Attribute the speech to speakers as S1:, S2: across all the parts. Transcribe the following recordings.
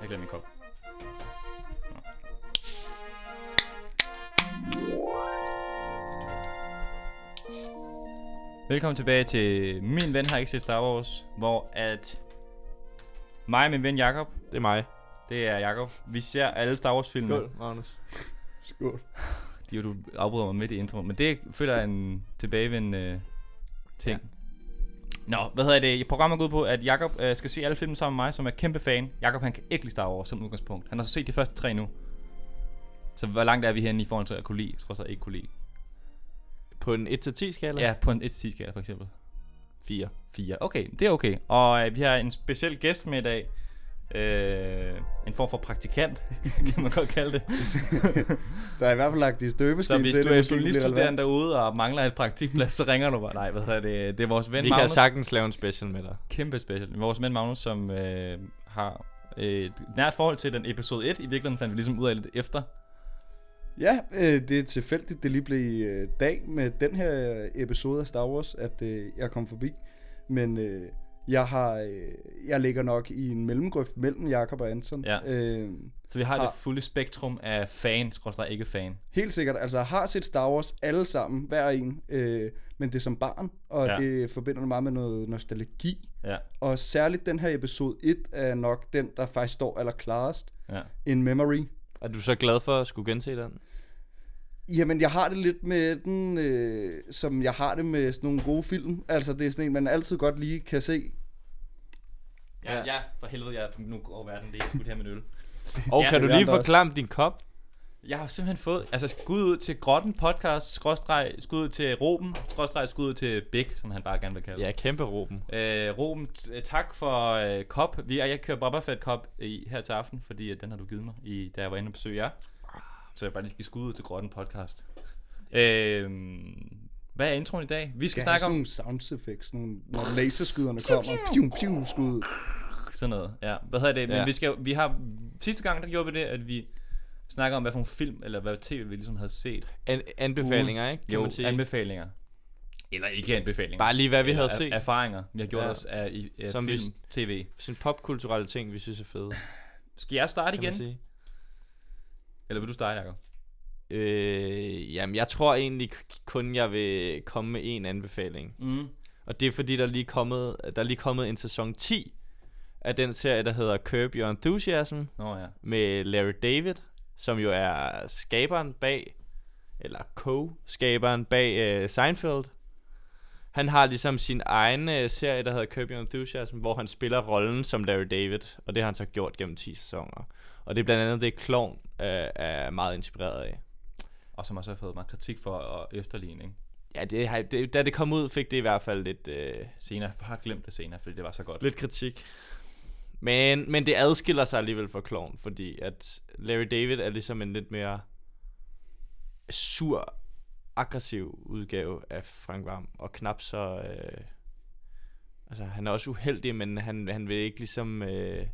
S1: Jeg glemte min kop. Nå. Velkommen tilbage til Min Ven Har Ikke Set Star Wars, hvor at mig og min ven Jakob,
S2: Det er mig.
S1: det er Jakob, vi ser alle Star Wars filmene.
S2: Skål, Magnus.
S3: Skål.
S1: De, du afbryder mig midt i introen, men det føler jeg er en tilbagevendende ting. Ja. Nå, hvad hedder det? Programmet går ud på, at Jakob øh, skal se alle filmene sammen med mig, som er kæmpe fan. Jakob han kan ikke lide Star Wars som udgangspunkt. Han har så set de første tre nu. Så hvor langt er vi henne i forhold til at kunne lide, trods at ikke kunne lide?
S2: På en 1-10 skala?
S1: Ja, på en 1-10 skala for eksempel.
S2: 4.
S1: 4. Okay, det er okay. Og øh, vi har en speciel gæst med i dag. Øh, en form for praktikant, kan man godt kalde det.
S3: Der er i hvert fald lagt i
S1: Så
S3: støbesten
S1: hvis
S3: til
S1: du
S3: det,
S1: er
S3: måske bliver
S1: journaliststuderende
S3: relevant.
S1: derude og mangler et praktikplads, så ringer du bare. Nej, hvad hedder det? Det er vores ven
S2: Vi kan
S1: Magnus.
S2: sagtens lave en special med dig.
S1: Kæmpe special. Vores ven Magnus, som øh, har øh, et nært forhold til den episode 1. I virkeligheden fandt vi ligesom ud af lidt efter.
S3: Ja, øh, det er tilfældigt, det lige blev øh, dag med den her øh, episode af Star Wars, at øh, jeg kom forbi. Men øh, jeg har, øh, jeg ligger nok i en mellemgrøft mellem Jakob og Anton.
S1: Ja.
S3: Øh,
S1: Så vi har, har.
S3: Har-
S1: det fulde spektrum af fan, skrådstræk ikke fan.
S3: helt sikkert, altså jeg har set Star Wars alle sammen, hver en, øh, men det er som barn, og
S1: Ja.
S3: ja. det forbinder mig meget med noget nostalgi.
S1: Ja,
S3: Og særligt den her episode 1 er nok den, der faktisk står allerklarest.
S1: ja.
S3: In Memory,
S2: Er du så glad for at skulle gense den?
S3: Jamen, jeg har det lidt med den, øh, som jeg har det med sådan nogle gode film. Altså, det er sådan en, man altid godt lige kan se.
S1: Ja, ja, for helvede, jeg nu går verden lige, jeg skulle have min øl.
S2: Og
S1: Ja,
S2: kan du
S3: vi
S2: lige
S3: andre også.
S2: forklare om din kop?
S1: Jeg har simpelthen fået, altså skud ud til Grotten Podcast, skrådstræk, skud ud til Ruben, skrådstræk, skud ud til Bæk, som han bare gerne vil kalde
S2: Ja, kæmpe råben.
S1: Øh, Ruben, t- øh, tak for øh, kop. Vi, jeg kører Boba Fett kop i, her til aften, fordi at den har du givet mig, i, da jeg var inde og besøge jer. Så jeg bare lige skal skud ud til Grotten Podcast. Øh, hvad er introen i dag? Vi skal
S3: Skal
S1: ja, snakke
S3: snakke sådan
S1: om
S3: nogle sounds effects, sådan nogle, når laserskyderne kommer. Pium, pium, skud.
S1: sådan noget. Ja, hvad hedder det? Men
S2: Ja.
S1: vi skal, jo- vi har, sidste gang der gjorde vi det, at vi snakker om, hvad for en film eller hvad tv vi ligesom havde set.
S2: An- anbefalinger, ikke? Kan
S1: Jo,
S2: man sige.
S1: anbefalinger. Eller ikke anbefalinger.
S2: Bare lige hvad vi havde
S1: Er-
S2: set.
S1: Erfaringer, vi har gjort
S2: Ja.
S1: os af, i, af
S2: Som
S1: film,
S2: vi-
S1: tv.
S2: Sådan popkulturelle ting, vi synes er fede,
S1: Skal jeg starte
S2: kan man
S1: igen?
S2: sige.
S1: Eller vil du starte, Jacob?
S2: Øh, jamen, jeg tror egentlig k- kun, jeg vil komme med en anbefaling.
S1: Mm.
S2: Og det er fordi, der er lige kommet, der er lige kommet en sæson 10 af den serie, der hedder Curb Your Enthusiasm.
S1: Nå ja.
S2: med Larry David, som jo er skaberen bag, eller co-skaberen bag øh, Seinfeld. Han har ligesom sin egen øh, serie, der hedder Curb Your Enthusiasm, hvor han spiller rollen som Larry David, og det har han så gjort gennem 10 sæsoner. Og det er blandt andet det, Clown øh, er meget inspireret af.
S1: Og som også har fået meget kritik for at efterligne, ikke?
S2: Ja, det, har- det, da det kom ud, fik det i hvert fald lidt, øh,
S1: Senere, jeg har glemt det senere, fordi det var så godt.
S2: lidt kritik. Men, men det adskiller sig alligevel fra Clown, fordi at Larry David er ligesom en lidt mere sur, aggressiv udgave af Frank Vam, og knap så... Øh, altså, han er også uheldig, men han, han vil ikke ligesom... Øh,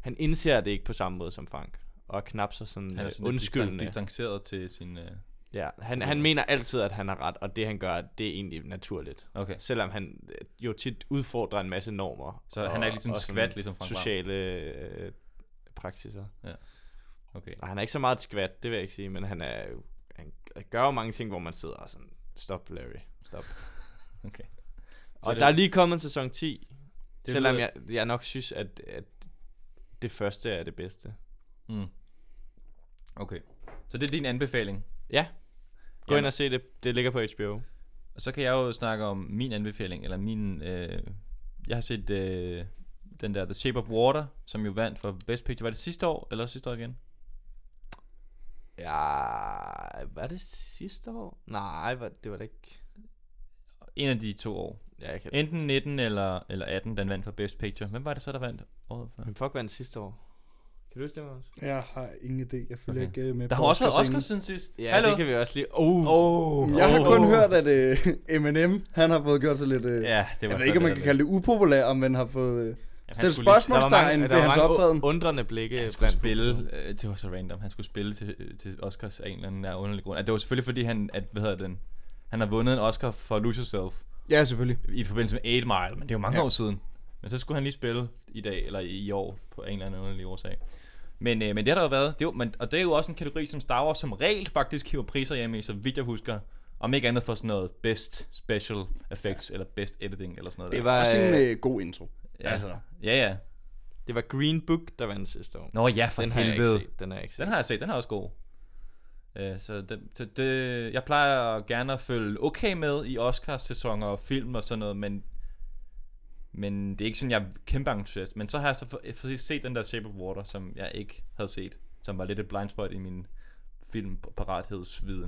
S2: han indser det ikke på samme måde som Frank, og er knap så sådan,
S1: Han er
S2: øh,
S1: sådan lidt
S2: undskyldende.
S1: distan- distanceret til sin... Øh...
S2: Ja, han, han mener altid, at han har ret, og det han gør, det er egentlig naturligt.
S1: Okay,
S2: Selvom han øh, jo tit udfordrer en masse normer.
S1: så og, han er ikke ligesom
S2: og sådan-
S1: skvat, ligesom Frank Social.
S2: sociale øh, praksiser.
S1: Okay.
S2: Og han er ikke så meget et skvat, det vil jeg ikke sige, men han, er, jo- han gør jo mange ting, hvor man sidder og sådan, stop Larry, stop.
S1: okay. Så
S2: og
S1: det-
S2: der er lige kommet en sæson 10,
S1: Det
S2: det selvom
S1: lyder-
S2: jeg, jeg nok synes, at, at det første er det bedste.
S1: Mm. Okay. Så det er din anbefaling.
S2: Ja, gå
S1: Jamen.
S2: ind og se det, det ligger på HBO.
S1: Og så kan jeg jo snakke om min anbefaling, eller min... Øh... Jeg har set øh... den der The Shape of Water, som jo vandt for Best Picture. Var det sidste år, eller sidste år igen?
S2: Ja, var det sidste år? Nej, var, det var det ikke.
S1: En af de to år.
S2: Ja, jeg kan
S1: Enten 19 eller, eller 18, den vandt for Best Picture. Hvem var det så, der vandt året før?
S2: Men fuck, var det sidste år? Kan du huske det, Magnus?
S3: Jeg har ingen idé, jeg følger
S1: Okay.
S3: okay. ikke øh, med
S1: Der har
S3: på
S1: også været
S3: Oscarscenen.
S1: Oscar siden sidst.
S2: Ja,
S1: Hallo?
S2: det kan vi også lige... Oh,
S1: Oh,
S3: Jeg har
S1: oh.
S3: kun hørt, at øh, Eminem, han har fået gjort sig lidt... Øh,
S1: Ja, det var
S3: jeg ved ikke, om man kan kalde det upopulær, om man har fået... Øh,
S1: det.
S3: stille spørgsmål. Spørgsmålstegn ved hans optræden.
S2: undrende blikke.
S1: Han skulle
S2: blandt
S1: spille,
S2: publikum.
S1: øh, det var så random, han skulle spille til, øh, til Oscars af en eller anden øh, underlig grund. At det var selvfølgelig fordi, han, at, hvad hedder den, han har vundet en Oscar for Lose Yourself
S3: ja, selvfølgelig.
S1: i forbindelse med 8 Mile, men det er jo mange ja.
S3: Ja.
S1: år siden. Men så skulle han lige spille i dag, eller i, i år, på en eller anden underlig årsag. Men, øh, men det har der jo været, det er jo, men, og det er jo også en kategori, som Star Wars som regel faktisk hiver priser hjemme i, så vidt jeg husker. Om ikke andet for sådan noget best special effects, ja. eller best editing, eller sådan noget.
S2: Det
S1: der.
S2: var,
S3: Også en
S2: øh,
S3: øh, god intro.
S1: ja.
S3: altså.
S1: Ja, ja.
S2: det var Green Book, der vandt sidste år.
S1: Nå ja, for
S2: den har jeg ikke
S1: helvede.
S2: set. Den har jeg ikke set.
S1: Den har jeg set, den er også god. Øh, så det, det, det, jeg plejer gerne at følge okay med i Oscars-sæsoner og film og sådan noget, men, men det er ikke sådan, jeg er kæmpe entusiast. Men så har jeg så for, for set den der Shape of Water, som jeg ikke havde set, som var lidt et blind spot i min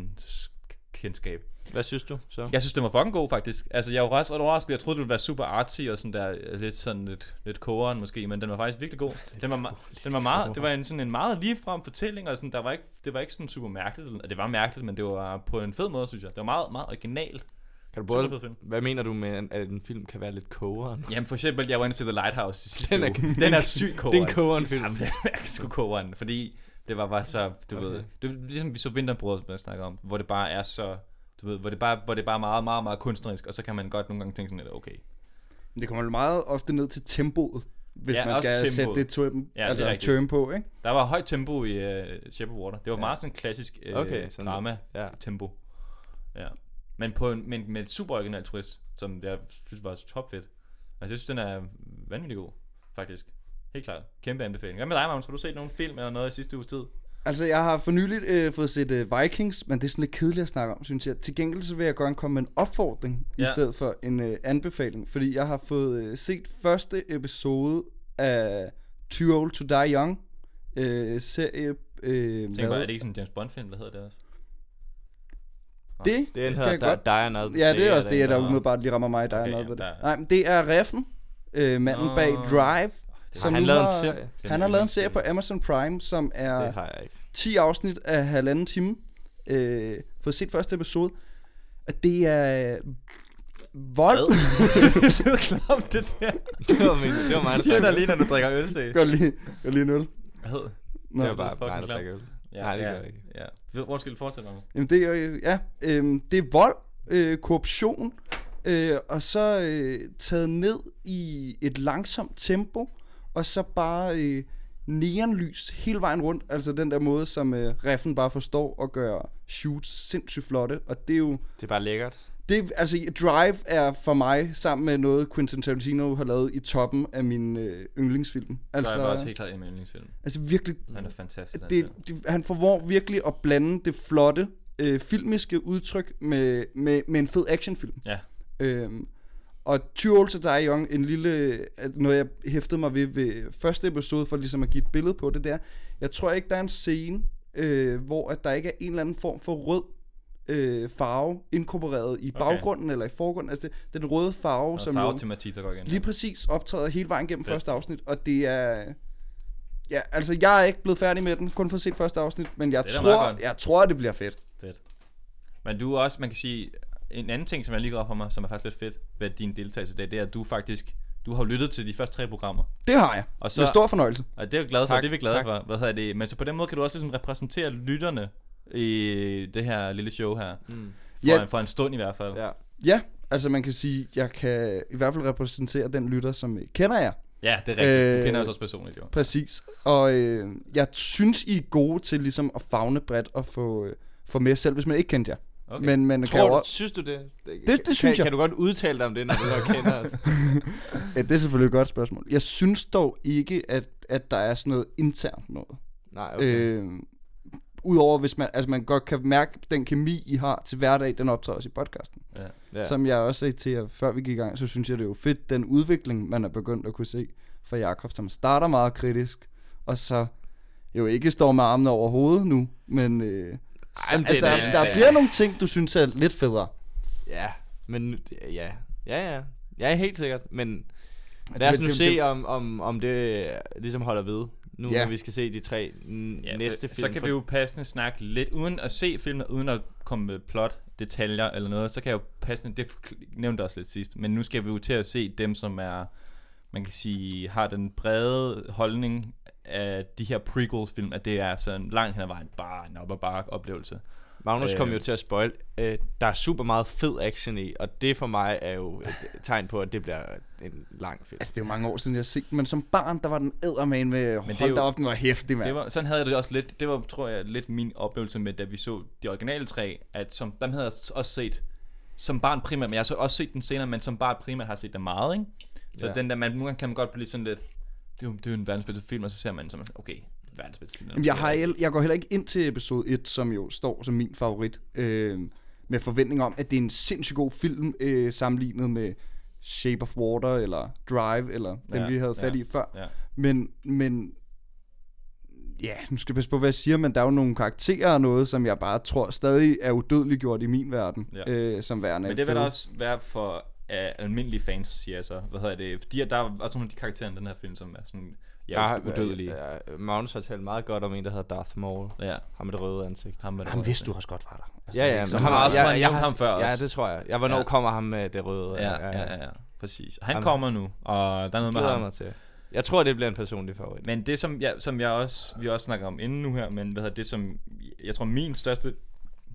S1: filmparathedsvidenskendskab.
S2: Hvad synes du så?
S1: Jeg synes, den var fucking god, faktisk. Altså, jeg var ret overrasket. Jeg troede, det ville være super artsy og sådan der, øh, lidt sådan lidt, lidt kogeren måske, men den var faktisk virkelig god. Den var, me- den var meget, det var en, sådan en meget ligefrem fortælling, og sådan, der var ikke, det var ikke sådan super mærkeligt. eller- Det var mærkeligt, men det var på en fed måde, synes jeg. Det var meget, meget originalt.
S2: Kan du
S1: Super fed
S2: både,
S1: film.
S2: hvad mener du med, at en film kan være lidt kogeren?
S1: Jamen, for eksempel, jeg var inde til The Lighthouse i sidste
S2: Den
S1: den
S2: er-
S1: er, Den er sygt
S2: Det
S1: kogeren.
S2: er en kogeren film.
S1: Jamen, den er sgu kogeren, fordi det var bare så, du okay. ved, det var ligesom vi så Vinterbrød, som jeg snakker om, hvor det bare er så, du ved, hvor det bare, hvor det bare er meget, meget, meget kunstnerisk, og så kan man godt nogle gange tænke sådan lidt, okay,
S3: Men det kommer jo meget ofte ned til tempoet, hvis
S1: Ja,
S3: man
S1: også
S3: skal
S1: tempoet.
S3: sætte det term,
S1: det
S3: ja,
S1: er
S3: altså det
S1: rigtigt.
S3: term på, ikke?
S1: Der var højt tempo i uh, Shape of Water. Det var ja. meget sådan klassisk uh,
S2: Okay,
S1: okay,
S2: sådan-
S1: sådan drama
S2: ja.
S1: ja. tempo. Ja. Men på en, men med et super original twist, som jeg synes var topfedt. Altså jeg synes, den er vanvittig god, faktisk. Helt klart. Kæmpe anbefaling. Hvad med dig, Magnus? Har du set nogen film eller noget i sidste uges tid?
S3: Altså, jeg har for nyligt øh, fået set øh, Vikings, men det er sådan lidt kedeligt at snakke om, synes jeg. Til gengæld så vil jeg gerne komme med en opfordring, ja. i
S1: Ja.
S3: stedet for en øh, anbefaling. Fordi jeg har fået øh, set første episode af Too Old To Die Young øh, serie. Øh,
S1: Tænk bare,
S3: hvad-
S1: er det ikke sådan en James Bond-film? Hvad hedder det også?
S3: det?
S2: Det er en
S3: kan
S2: her,
S3: jeg
S2: der
S3: godt.
S2: der er noget.
S3: Ja, det er også
S2: den,
S3: det, der
S1: der-
S3: umiddelbart lige rammer mig, der okay,
S1: Okay,
S3: er noget
S1: ja,
S3: ved det.
S1: der-
S3: Nej, men det er Reffen, øh, manden bag
S1: Nå.
S2: Har
S3: Drive. Som
S2: han
S3: nu
S2: lavet en
S3: har-
S2: serie?
S3: Han har lavet en serie på Amazon Prime, som
S2: Det
S3: er
S2: har jeg ikke.
S3: 10 afsnit af halvanden time. Øh, fået set første episode. Og det er øh, vold.
S1: Hvad? det er klamt, det der.
S2: Det var, min, det var mig, der
S1: Siger der
S2: snakkede.
S1: lige, når du drikker øl til.
S3: Godt lige, godt lige en øl.
S1: Hvad?
S3: Nå.
S2: Det var bare
S1: Det er
S2: mig, der
S1: fucking
S2: snakkede. Nej, det gør jeg ikke.
S1: Ja. Undskyld, fortsæt, Magnus.
S3: Jamen, det er, jo- ja, øh, det er vold, øh, korruption, øh, og så øh, taget ned i et langsomt tempo, og så bare øh, neonlys hele vejen rundt. Altså den der måde, som øh, Reffen bare forstår at gøre shoots sindssygt flotte. Og det er jo
S2: Det er bare lækkert.
S3: Det, altså, Drive er for mig, sammen med noget Quentin Tarantino har lavet i toppen af min øh, yndlingsfilm.
S1: Altså... Så er jeg også
S3: Altså,
S1: helt klart en yndlingsfilm.
S3: altså virkelig,
S1: Han er fantastisk. den
S3: det,
S1: film.
S3: det, han formår virkelig at blande det flotte øh, filmiske udtryk med, med, med en fed actionfilm.
S1: Ja.
S3: Øhm, og 20 Old to Die Young, en lille, at noget jeg hæftede mig ved ved første episode, for ligesom at give et billede på det der. Jeg tror ikke, der er en scene, øh, hvor at der ikke er en eller anden form for rød øh, farve inkorporeret i
S1: Okay.
S3: baggrunden eller i forgrunden. Altså det, den røde farve,
S1: Og
S3: som
S1: farve
S3: jo
S1: tematik, der går igen.
S3: lige præcis optræder hele vejen gennem
S1: Fedt.
S3: første afsnit, og det er... Ja, altså jeg er ikke blevet færdig med den, kun for at se første afsnit, men jeg
S1: Det er da meget
S3: tror,
S1: godt.
S3: jeg tror, det bliver fedt.
S1: Fedt. Men du er også, man kan sige, en anden ting, som jeg lige går op for mig, som er faktisk lidt fedt ved din deltagelse i dag, det er, at du faktisk, du har jo lyttet til de første tre programmer.
S3: Det har jeg.
S1: Og
S3: Så... Med stor fornøjelse.
S1: og det er vi glade for,
S2: Tak,
S1: det er vi glade
S2: tak.
S1: for. Hvad hedder det? Men så på den måde kan du også ligesom repræsentere lytterne i det her lille show her.
S2: Mm.
S1: For,
S3: Ja.
S1: ja. for en stund i hvert fald. Ja,
S2: Ja.
S3: Ja, altså man kan sige, jeg kan i hvert fald repræsentere den lytter, som øh, kender jer.
S1: ja det er rigtigt. Øh...
S3: Øh,
S1: Du kender os også personligt, jo.
S3: Præcis. Og øh, jeg synes, I er gode til ligesom at fagne bredt og få, øh, få med selv, hvis man ikke kendte jer.
S1: Okay.
S3: Men man kan
S2: Tror
S3: jo
S2: du,
S3: også...
S2: synes du det? Det,
S3: det synes
S2: kan,
S3: jeg.
S2: Kan du godt udtale dig om det, når du nok kender os?
S3: Ja, det er selvfølgelig et godt spørgsmål. Jeg synes dog ikke, at, at der er sådan noget internt noget.
S2: Nej, okay. Øh,
S3: Okay. Øh, Udover hvis man, altså man godt kan mærke den kemi, I har til hverdag, den optager også i podcasten.
S1: Ja.
S2: ja.
S3: Ja. Som jeg også sagde til jer, før vi gik i gang, så synes jeg, det er jo fedt, den udvikling, man er begyndt at kunne se fra Jakob, som starter meget kritisk, og så jo ikke står med armene over hovedet nu, men øh,
S2: Ej, men det
S3: altså,
S2: er
S3: der,
S2: da-
S3: der bliver nogle ting, du synes er lidt federe.
S2: Ja, men nu- det- ja. Ja, ja. Ja, helt sikkert. Men lad
S3: det-
S2: os nu
S3: Altså, det-
S2: se,
S3: det-
S2: om, om, om det øh, ligesom holder ved. Nu
S3: Ja.
S2: når vi skal se de tre n-
S1: Ja,
S2: næste
S1: for,
S2: film.
S1: Så kan
S2: for-
S1: vi jo passende snakke lidt, uden at se filmen, uden at komme med plot, detaljer eller noget, så kan jeg jo passende, det forkl- nævnte jeg også lidt sidst, men nu skal vi jo til at se dem, som er, man kan sige, har den brede holdning af de her prequels-film, at det er altså en langt hen ad vejen bare en op ad bare oplevelse.
S2: Magnus øh, kom
S1: Øh.
S2: jo til at spoil. Øh, der er super meget fed action i, og det for mig er jo et tegn på, at det bliver en lang film.
S3: Altså, det er jo mange år siden, jeg har set den, men som barn, der var den æderman med,
S1: er
S3: men hold
S1: jo-
S3: da op, den var hæftig, mand.
S1: Det var, sådan havde jeg det også lidt. Det var, tror jeg, lidt min oplevelse med, da vi så de originale tre, at som, dem havde jeg også set som barn primært, men jeg har så også set den senere, men som barn primært har jeg set den meget, ikke? Så
S2: Ja.
S1: ja. den der, man, nogle gange kan man godt blive sådan lidt, det er jo, det er jo en verdensbedste film, og så ser man den som, okay, verdensbedste film.
S3: Jamen, jeg, har, el- jeg går heller ikke ind til episode 1, som jo står som min favorit, øh, med forventning om, at det er en sindssygt god film, øh, sammenlignet med Shape of Water, eller Drive, eller den
S1: Ja,
S3: vi havde fat
S1: ja,
S3: i før.
S1: ja.
S3: Men, men ja, nu skal jeg passe på, hvad jeg siger, men der er jo nogle karakterer og noget, som jeg bare tror stadig er udødeliggjort i min verden,
S1: Ja.
S3: øh, som værende
S1: Men det vil
S3: fede.
S1: da også være for uh, almindelige fans, siger jeg så. Hvad hedder det? Fordi at der er også nogle af de karakterer i den her film, som er sådan, ja,
S2: har-
S1: udødelige. Ja,
S2: Ja, ja, Magnus har talt meget godt om en, der hedder Darth Maul.
S1: ja. ja.
S2: Ham med det røde ansigt.
S1: Ham,
S3: Ham vidste du også godt var der. Altså,
S2: Ja,
S3: det er
S2: ja, men
S3: ikke så
S2: ham,
S1: har
S3: meget.
S1: også
S2: jeg,
S1: kun nævnt ham før
S2: Ja,
S1: også.
S2: det tror jeg. Ja, hvornår
S1: Ja.
S2: kommer ham med det røde?
S1: Ja, ja, ja, ja, præcis. Han
S2: Ham-
S1: kommer nu, og der er noget med
S2: Glæder
S1: ham.
S2: mig til. Jeg tror, det bliver en personlig favorit.
S1: Men det, som jeg, som jeg også, vi også snakker om inden nu her, men hvad hedder det, som jeg tror min største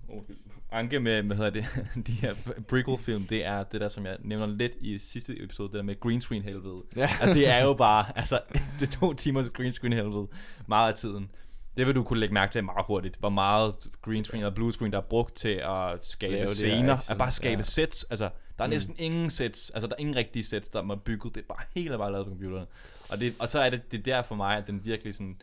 S1: undskyld, anke med, hvad hedder det, de her prequel-film, det er det der, som jeg nævner lidt i sidste episode, det der med green screen helvede.
S2: Ja.
S1: Altså, det er jo bare, altså, det er to timer til green screen helvede, meget af tiden. Det vil du kunne lægge mærke til meget hurtigt, hvor meget green screen og blue screen, der er brugt til at skabe
S2: Lave
S1: Lave
S2: det
S1: scener,
S2: action,
S1: at bare skabe
S2: ja.
S1: ja. sets. Altså, der er næsten ingen sets, altså der er ingen rigtige sets, der er bygget. Det er bare helt og bare lavet på computeren. Og, det, og så er det, det er der for mig, at den virkelig sådan,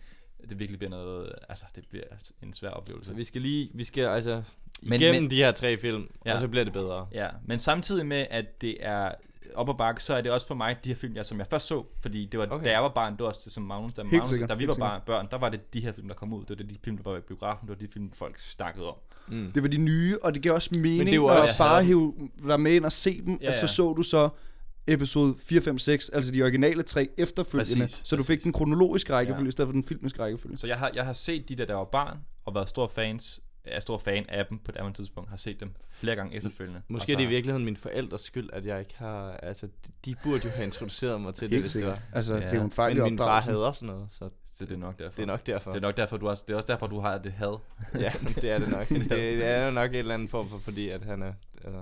S1: det virkelig bliver noget, altså det bliver en svær oplevelse.
S2: Så vi skal lige, vi skal altså
S1: Men-
S2: igennem
S1: men-
S2: de her tre film, ja.
S1: Ja.
S2: og så bliver det bedre.
S1: Ja, men samtidig med, at det er op og bakke, så er det også for mig de her film, jeg, som jeg først så, fordi det var,
S2: Okay.
S1: okay. da jeg var barn, det var også det, som Magnus, da,
S3: Helt
S1: Magnus,
S3: sikkert,
S1: da vi
S3: helt
S1: var barn, børn, der var det de her film, der kom ud, det var de film, der var i biografen, det var de film, folk snakkede om.
S2: Mm.
S3: Det var de nye, og det gav også mening,
S2: det er jo
S3: når
S2: også-
S3: også, bare hæve dig med ind og se dem,
S1: Ja,
S3: ja, og så
S1: ja.
S3: så du så episode 4, 5, 6, altså de originale tre efterfølgende,
S1: Præcis,
S3: præcis, så du fik
S1: præcis.
S3: den kronologiske rækkefølge,
S1: Ja.
S3: i stedet for den filmiske rækkefølge.
S1: Så jeg har, jeg har set de der, der var barn, og været stor, fans, er stor fan af dem på et andet tidspunkt, har set dem flere gange efterfølgende.
S2: Måske
S1: Og så
S2: er det i
S1: har-
S2: virkeligheden min forældres skyld, at jeg ikke har... Altså, de- de burde jo have introduceret mig til det,
S3: Helt
S2: hvis det var.
S3: sikkert. Altså,
S1: Ja.
S3: det er jo en fejl i
S2: Men min far
S3: opdragelsen.
S2: havde også noget, så
S1: Så det er nok derfor.
S2: det er nok Mm, derfor.
S1: Det er nok derfor, du har, det er også derfor, du har det had.
S2: ja, det er det nok. Det, det er jo nok et eller andet form for, fordi at han er... Altså,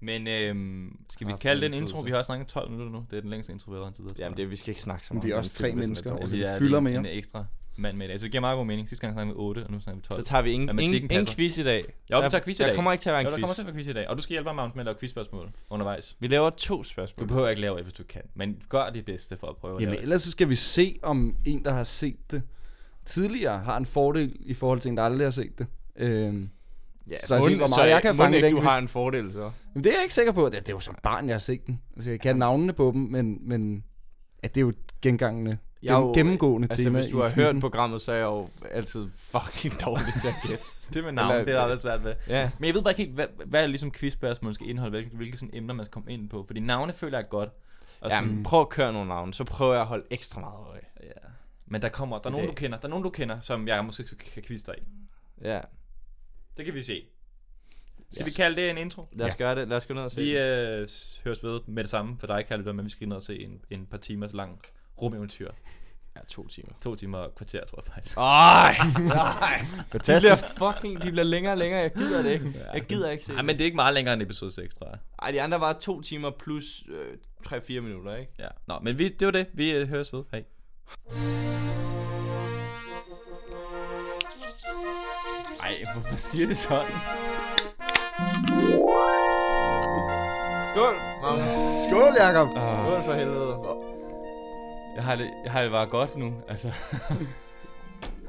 S1: Men øhm, skal vi
S2: Haft
S1: kalde den
S2: en
S1: intro?
S2: indflydelse.
S1: Vi har også snakket 12 minutter nu. Det er den længste intro, vi har tid.
S2: jamen, det, vi skal ikke snakke så
S3: Men
S2: meget
S3: vi er
S2: om
S3: også
S2: den
S3: tre
S2: film, hvis den er
S3: mennesker,
S2: dårlig.
S3: altså,
S1: vi
S3: vi
S1: er
S3: fylder
S1: en,
S3: mere.
S1: en ekstra mand med i dag. Så det giver meget god mening. Sidste gang snakkede vi 8, og nu snakker vi 12.
S2: Så tager vi ingen, ingen,
S1: Altså, Matematikken
S2: ingen
S1: passer.
S2: quiz i dag.
S1: Jo, vi
S2: Der-
S1: tager quiz i
S2: Der
S1: dag.
S2: kommer ikke til at være
S1: Jo, der
S2: en
S1: kommer
S2: quiz.
S1: til at være quiz i dag. Og du skal hjælpe mig Magnus, med at lave quizspørgsmål undervejs.
S2: Vi laver to
S1: Du
S2: spørgsmål.
S1: behøver ikke lave, hvis du kan. Men gør dit bedste for at prøve at
S3: Jamen,
S1: lave det.
S3: ellers så skal vi se, om en, der har set det tidligere, har en fordel i forhold til en, der aldrig har set det. Øhm,
S2: Ja,
S3: Så altså, hvor meget jeg kan
S2: må
S3: fange
S2: ikke,
S3: den
S2: du
S3: quiz.
S2: har en fordel, så.
S3: men det er jeg ikke sikker på. Det, det er jo som barn, jeg har set den. Altså, jeg kan navnene på dem, men, men ja, det er jo et gengangende,
S2: Jeg er jo-
S3: gennem, gennemgående
S2: Altså,
S3: tema
S2: hvis du
S3: i
S2: har
S3: quizzen.
S2: hørt programmet, så er jeg jo altid fucking dårlig til at gætte.
S1: Det med navn,
S2: Eller-
S1: det er aldrig svært ved.
S2: Ja.
S1: Men jeg ved bare ikke helt, hvad, hvad ligesom quizspørgsmål skal indeholde, hvilke, hvilke sådan emner man skal komme ind på. Fordi navne føler jeg godt. Og
S2: Jamen, prøv at køre nogle navne, så prøver jeg at holde ekstra meget øje.
S1: ja. Men der kommer, der er nogen, du
S2: dag.
S1: kender, der er nogen, du kender, som jeg måske kan quizze dig i.
S2: Ja,
S1: Det kan vi se. Skal
S2: Ja.
S1: vi kalde det en intro?
S2: lad os ja. gøre det. Lad os gå ned og se.
S1: Vi
S2: den.
S1: øh, s- høres ved med det samme for dig, Kalle, men vi skal ned og se en, en par timers lang rumeventyr.
S2: Ja, to timer.
S1: To timer og et kvarter, tror jeg faktisk.
S2: Ej, nej. De bliver fucking, de bliver længere og længere. Jeg gider det ikke. Jeg gider ikke se
S1: Nej, men det er ikke meget længere end episode 6, tror jeg.
S2: Ej, de andre var to timer plus øh, 3-4 minutter, ikke?
S1: Ja. Nå, men vi, det var det. Vi øh, høres ved. Hej. Ej, hvorfor siger det sådan?
S2: Skål, Magnus.
S3: Skål, Jacob!
S2: Skål for helvede.
S1: Jeg har det, jeg har det bare godt nu, altså.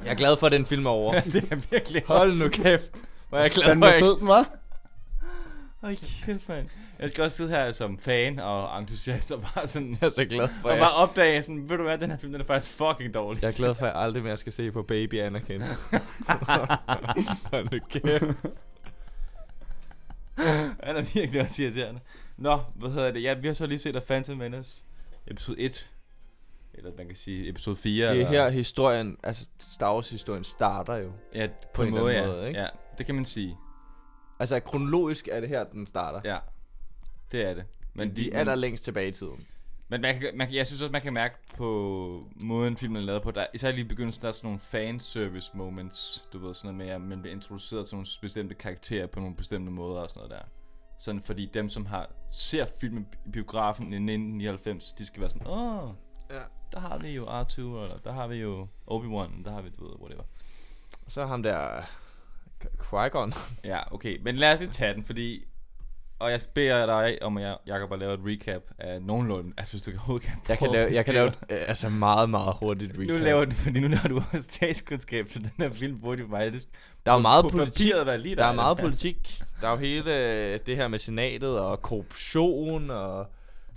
S2: Jeg er glad for, at den film er over.
S1: det er virkelig
S2: Hold nu kæft. Hvor er jeg glad
S3: Den
S2: for,
S3: var
S2: at jeg
S3: fed, den var.
S1: Hold kæft, mand. Jeg skal også sidde her som fan og entusiast og bare sådan...
S2: jeg er så glad for,
S1: Og
S2: at jeg,
S1: bare opdage sådan, ved du hvad, den her film, den er faktisk fucking dårlig.
S2: jeg er glad for, at jeg aldrig mere skal se på Baby Anakin. Hold nu kæft.
S1: Han er virkelig også irriterende. Nå, hvad hedder det? Ja, vi har så lige set The Phantom Menace. Episode 1. Eller man kan sige episode 4.
S2: Det er
S1: eller,
S2: her historien, altså Star Wars historien starter jo.
S1: Ja, på,
S2: på
S1: en,
S2: en
S1: måde,
S2: eller anden
S1: ja.
S2: måde, ikke?
S1: ja. det kan man sige.
S2: Altså kronologisk er det her, den starter.
S1: Ja, det er det.
S2: Men vi er der længst tilbage i tiden.
S1: Men man kan, man kan, jeg synes også, man kan mærke på måden, filmen er lavet på. Der, især lige i begyndelsen, der er sådan nogle fanservice moments. Du ved, sådan noget med, at man bliver introduceret til nogle bestemte karakterer på nogle bestemte måder og sådan noget der. Sådan fordi dem, som har ser filmen i biografen i 1999, de skal være sådan, åh,
S2: Ja.
S1: der har vi jo R2, eller der har vi jo Obi-Wan, der har vi, du ved, whatever.
S2: Og så ham der... K- Qui-Gon.
S1: Ja, okay. Men lad os lige tage den, fordi... Og jeg beder dig om, at jeg, Jacob, at lave et recap af nogenlunde. Altså, hvis du kan overhovedet kan
S2: Jeg kan
S1: prøve at
S2: lave, jeg kan
S1: beskrive-
S2: lave et, øh, altså meget, meget hurtigt recap.
S1: Nu laver du, fordi nu laver du også statskundskab, så den her film burde jo faktisk...
S2: der er jo meget
S1: på
S2: politik.
S1: papiret være lige
S2: Der er meget politik. Der er jo hele øh, det her med senatet og korruption og...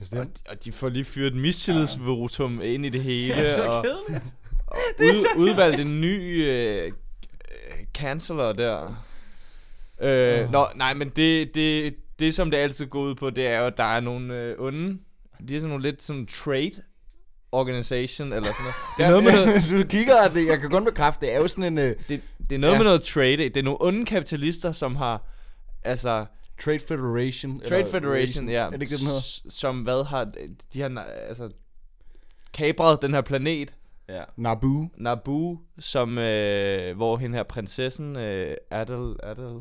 S2: Og,
S4: Bestemt.
S2: og de får lige fyret et mistillidsvotum ind i det hele.
S1: Det er så
S2: og,
S1: kedeligt.
S2: og ud, udvalgt en ny øh, øh, canceller der. Øh, Nå, nej, men det, det, det, som det altid går ud på, det er jo, at der er nogle øh, onde. De er sådan nogle lidt sådan trade organization eller sådan noget. Det er noget med noget,
S3: du kigger, at det, jeg kan kun bekræfte, det er jo sådan en uh,
S2: det, det er noget,
S3: Ja.
S2: ja. med noget trade. Det er nogle onde kapitalister, som har... Altså,
S3: Trade Federation.
S2: Trade
S3: eller
S2: Federation, ja.
S3: Er det ikke det, den hedder?
S2: s- Som hvad har... De har altså... Kabret den her planet,
S1: Ja.
S4: Naboo.
S2: Naboo, som, øh, hvor hende her prinsessen, øh, Adel, Adel,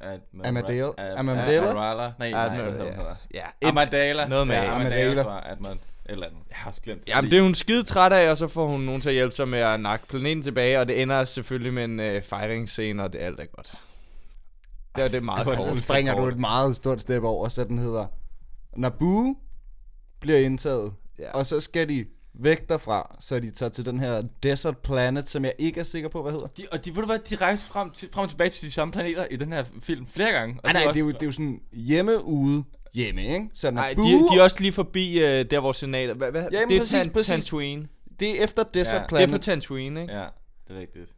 S1: Admiral-
S4: Amadeo-
S1: Ad-
S4: Amadela?
S1: Amarala. Nej, nej,
S2: Admiral-
S1: hvad hedder hun?
S2: ja, et,
S1: Amadala.
S2: noget med-
S1: ja, Amadala,
S4: Amadala.
S1: tror jeg. Admiral. Eller andet. Jeg har også glemt.
S2: Jamen, det er hun skide træt af, og så får hun nogen til at hjælpe sig med at nakke planeten tilbage, og det ender selvfølgelig med en øh, fejringsscene, og det alt er godt. Det er det er meget
S1: det var
S3: Nu
S2: kort.
S1: en-
S3: springer du et meget stort step over, så den hedder Naboo bliver indtaget,
S2: Ja.
S3: ja. og så skal de væk derfra, så de tager til den her desert planet, som jeg ikke er sikker på, hvad hedder.
S1: De, og de, ved du hvad, de rejser frem, til, frem og tilbage til de samme planeter i den her film flere gange. Og
S2: Ah,
S3: Nej, nej,
S1: var
S3: det er, jo,
S1: også-
S3: det er jo sådan hjemme ude hjemme, ikke? Så Naboo,
S2: Nej, de, de er også lige forbi øh, der, hvor senater... Hva, hva,
S3: Jamen,
S2: det er
S3: præcis, præcis.
S2: Tatooine.
S3: det er efter desert
S1: Ja.
S2: Det
S3: ja,
S2: er på
S3: planet. Det
S2: Tatooine, ikke?
S1: Ja, det er rigtigt.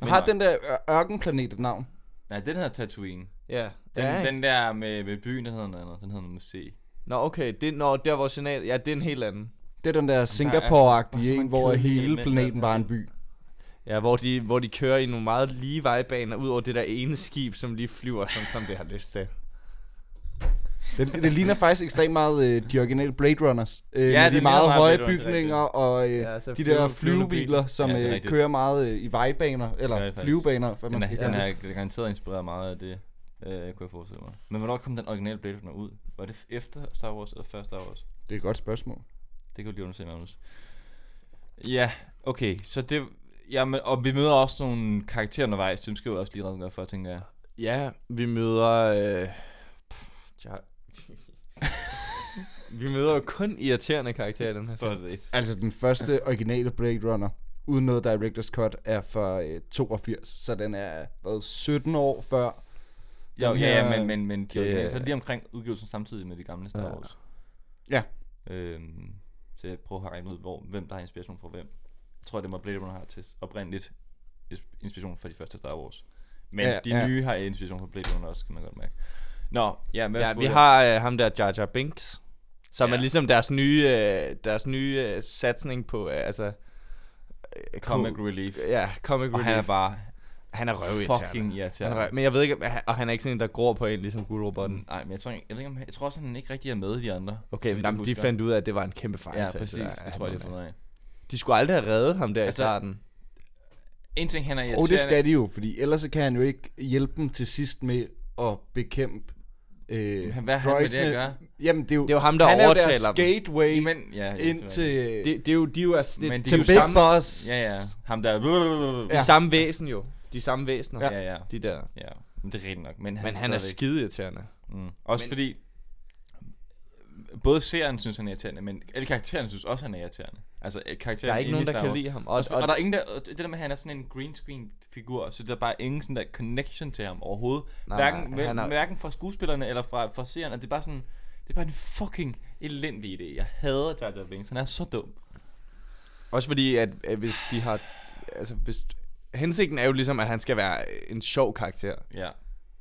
S1: Det
S3: har
S1: minder-
S3: den der ør- ørkenplanet et navn?
S1: Nej, den hedder Tatooine.
S2: Ja. ja.
S1: Den,
S2: ja ikke?
S1: den der med, med byen, den hedder noget andet. Den hedder noget med C.
S2: Nå, okay. Det, nå, der, hvor senater... Ja, det er en helt anden.
S3: Det er den der
S1: bare
S3: Singapore-agtige
S1: så
S3: en,
S1: mange
S3: hvor
S1: kedelige
S3: hele
S1: elementer
S3: planeten
S1: der.
S3: bare er en by.
S2: Ja, hvor de, hvor de kører i nogle meget lige vejbaner, ud over det der ene skib, som lige flyver, sådan som det har lyst til.
S3: Det, det ligner faktisk ekstremt meget øh, de originale Blade Runners. Øh,
S1: det
S3: ja, de
S1: ligner
S3: meget
S1: meget
S3: høje
S1: Blade Runner, det er
S3: bygninger og øh,
S2: Ja,
S3: ja,
S2: altså
S3: de
S2: flyve-
S3: der
S2: flyvende biler.
S3: flyvebiler, som
S1: Ja, det er
S3: øh,
S1: rigtigt.
S3: kører meget øh, i vejbaner, eller
S1: Ja, det
S3: ja,
S1: er faktisk.
S3: flyvebaner, hvad man
S1: Den er,
S3: skal
S1: den
S3: kalde det.
S1: er garanteret inspireret meget af det, øh, kunne jeg forestille mig. Men hvornår kom den originale Blade Runner ud? Var det f- efter Star Wars eller før Star Wars?
S3: Det er et godt spørgsmål.
S1: Det kan du lige undersøge, Magnus. Ja, okay. Så det... Jamen, og vi møder også nogle karakterer undervejs, som skal jo også lige redegøre for, tænker jeg.
S2: Ja, vi møder... Øh, pff, ja. vi møder jo kun irriterende karakterer i den her.
S1: Stort set.
S3: Altså den første originale Blade Runner, uden noget director's cut, er fra øh, 82, så den er hvad, 17 år før.
S1: Jo,
S3: Den
S1: ja, ja,
S3: her-
S1: men, men, men de
S2: det-
S1: originale, så er det lige omkring udgivelsen samtidig med de gamle Star Wars.
S3: Ja.
S1: Øhm, så jeg prøver at regne ud, hvor, hvem der har inspiration fra hvem. Jeg tror, det må Blade Runner har til oprindeligt is- inspiration fra de første Star Wars. Men ja,
S3: Ja,
S1: de
S3: ja.
S1: nye har inspiration fra Blade Runner også, kan man godt mærke. Nå, ja, men
S2: Ja, vi har øh, ham der Jar Jar Binks, som ja.
S1: Ja.
S2: er ligesom deres nye, øh, deres nye øh, satsning på, øh, altså... Øh,
S1: Comic
S2: ko-
S1: Relief.
S2: Ja, Comic
S1: Og
S2: Relief.
S1: han er bare
S2: han er røvirriterende.
S1: fucking
S2: Han
S1: irriterende. Mm,
S2: er røv, men jeg ved ikke, og han er ikke sådan en, der gror på en, ligesom guldrobotten.
S1: Nej, men jeg tror, ikke- jeg, ved ikke, om, jeg tror også, at han ikke rigtig er med i de andre.
S2: Okay,
S1: så vidt
S2: men
S1: jeg
S2: jamen, de
S1: husker.
S2: fandt ud af, at det var en kæmpe fejl.
S1: Ja,
S2: så
S1: præcis.
S2: der-
S1: Det
S2: han
S1: tror jeg, de har
S2: var med.
S1: fundet af.
S2: De skulle aldrig have reddet ham der
S1: Altså-
S2: altså, i starten.
S1: En ting,
S2: Oh,
S1: han er irriterende.
S3: Og det skal de jo, fordi ellers så kan han jo ikke hjælpe dem til sidst med at bekæmpe øh,
S1: Men hvad har han med det at
S3: droidsene.
S1: gøre?
S3: Jamen det er jo,
S2: Det er jo ham, der
S3: han er jo
S2: overtaler
S3: deres
S2: dem.
S3: gateway
S1: Men, ja, jeg
S3: ind
S1: tror, jeg-
S3: til,
S2: Det, det er jo, de er jo, altså, det,
S1: Men
S2: det
S1: de
S3: til
S2: er
S1: er
S2: jo
S3: Big
S2: samme,
S3: Boss.
S1: Ja, ja. Ham der... Ja,
S2: de samme væsen jo. De samme væsener. Ja.
S1: ja. ja.
S2: De der.
S1: ja. Men det er rigtigt nok. Men han,
S2: Men han er
S1: stadigvæk-
S2: skide irriterende.
S1: Mm. Også
S2: Men-
S1: fordi... Både seeren synes, han er irriterende, men alle karaktererne synes også, han er irriterende. Altså, øh,
S2: Der
S1: karaktererne
S2: er ikke
S1: inde i
S2: nogen, der
S1: Star
S2: kan
S1: Wars.
S2: lide ham.
S1: Og,
S2: Og,
S1: og, og der er ingen der, og det der med, at han er sådan en green screen figur, så der er bare ingen sådan der connection til ham overhovedet.
S2: Nej,
S1: hverken,
S2: nej, han
S1: hver-
S2: er-
S1: hverken fra skuespillerne eller fra, fra seerne. Det er bare sådan, det er bare en fucking elendig idé. Jeg hader Jar Jar Binks, han er så dum.
S2: også fordi, at, at hvis de har... Altså, hvis, hensigten er jo ligesom, at han skal være en sjov karakter.
S1: Ja.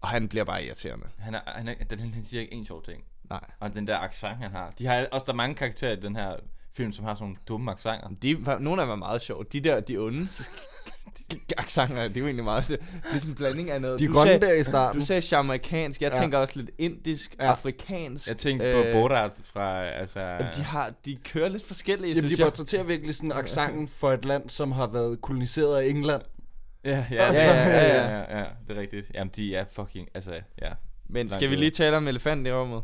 S2: Og han bliver bare irriterende.
S1: Han, er, han, er, den, han siger ikke en sjov ting.
S2: Nej.
S1: Og den der accent, han har. De har også, der er mange karakterer i den her film, som har sådan nogle dumme accenter.
S2: De, er fa- nogle af dem er meget sjove. De der, de onde s- accenter, det er jo egentlig meget Det er sådan en blanding af noget.
S3: De
S2: du,
S3: grønne
S2: sagde,
S3: der i starten.
S2: du sagde jamaikansk, jeg
S3: Ja.
S2: tænker også lidt indisk,
S3: Ja.
S2: afrikansk.
S1: Jeg tænkte på
S2: øh,
S1: Borat fra, altså...
S2: Jamen, de, har, de kører lidt forskellige,
S3: Jamen, de
S2: synes jeg.
S3: portrætterer virkelig sådan accenten for et land, som har været koloniseret af England.
S1: Ja, ja,
S2: Ja, ja, Altså, ja, ja.
S1: ja, ja, det er rigtigt. Jamen, de er fucking, altså, ja.
S2: Men
S1: Langt
S2: skal vi
S1: ude.
S2: lige tale om elefanten i rummet?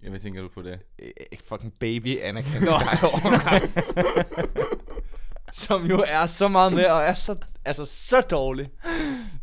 S1: Jamen, hvad tænker du på det?
S2: øh, fucking baby Anakin Skywalker. som jo er så meget med, og er så, altså, så dårlig.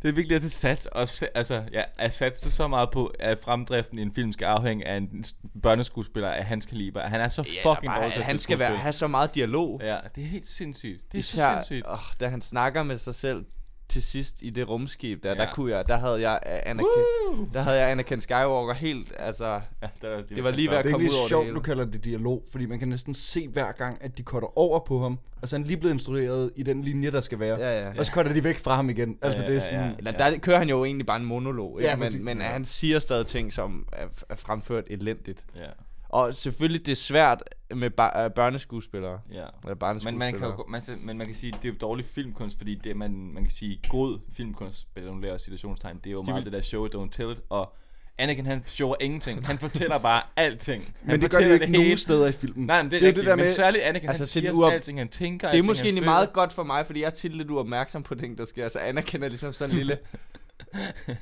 S1: Det er virkelig at det sats, og se- altså, ja, at satse så meget på, at fremdriften i en film skal afhænge af en s- børneskuespiller af hans kaliber. Han er så fucking dårlig til
S2: at
S1: at
S2: han
S1: spille
S2: skal være,
S1: skuespil.
S2: have så meget dialog.
S1: Ja, det er helt sindssygt. Det er så
S2: Især,
S1: sindssygt.
S2: åh, da han snakker med sig selv til sidst i det rumskib der, ja. der
S1: Ja.
S2: kunne jeg, der havde jeg øh, Anakin, der havde jeg Anakin Skywalker helt, altså,
S1: Ja, der,
S2: det var lige ved at
S3: Det er
S2: komme ud
S3: virkelig
S2: over det
S3: sjovt,
S2: hele.
S3: du kalder det dialog, fordi man kan næsten se hver gang, at de cutter over på ham, og så er han lige blevet instrueret i den linje, der skal være.
S2: Ja, ja.
S3: Og så cutter de væk fra ham igen. Altså,
S1: Ja,
S3: det er
S1: ja,
S3: sådan...
S1: ja.
S2: Eller der kører han jo egentlig bare en monolog, ikke?
S3: Ja, præcis.
S2: men, men han siger stadig ting, som er, er fremført elendigt.
S1: Ja,
S2: Og selvfølgelig, det er svært med ba- øh, børneskuespillere.
S1: ja.
S2: Eller barneskuespillere.
S1: Men man kan jo, man, man, man kan sige, det er jo dårlig filmkunst, fordi det, man, man kan sige, god filmkunst, bedonulærer situationstegn, det er jo meget det der show it, don't tell it, og Anakin han shower ingenting. Han fortæller bare alting. Han
S3: Men det gør
S1: fortæller
S3: de ikke nogen
S1: hele.
S3: steder i filmen.
S1: Nej, men det er, det
S3: Det er jo
S1: rigtigt,
S3: det der
S1: men
S3: med-
S1: særligt Anakin,
S2: Altså,
S1: altså,
S2: til
S1: han
S2: den
S1: siger
S2: uab-
S1: uop... alting, han tænker
S2: Det er
S1: alting,
S2: måske
S1: han
S2: egentlig
S1: føler.
S2: meget godt for mig, fordi jeg er tit lidt uopmærksom på ting, der sker. Så anerkender ligesom sådan en lille...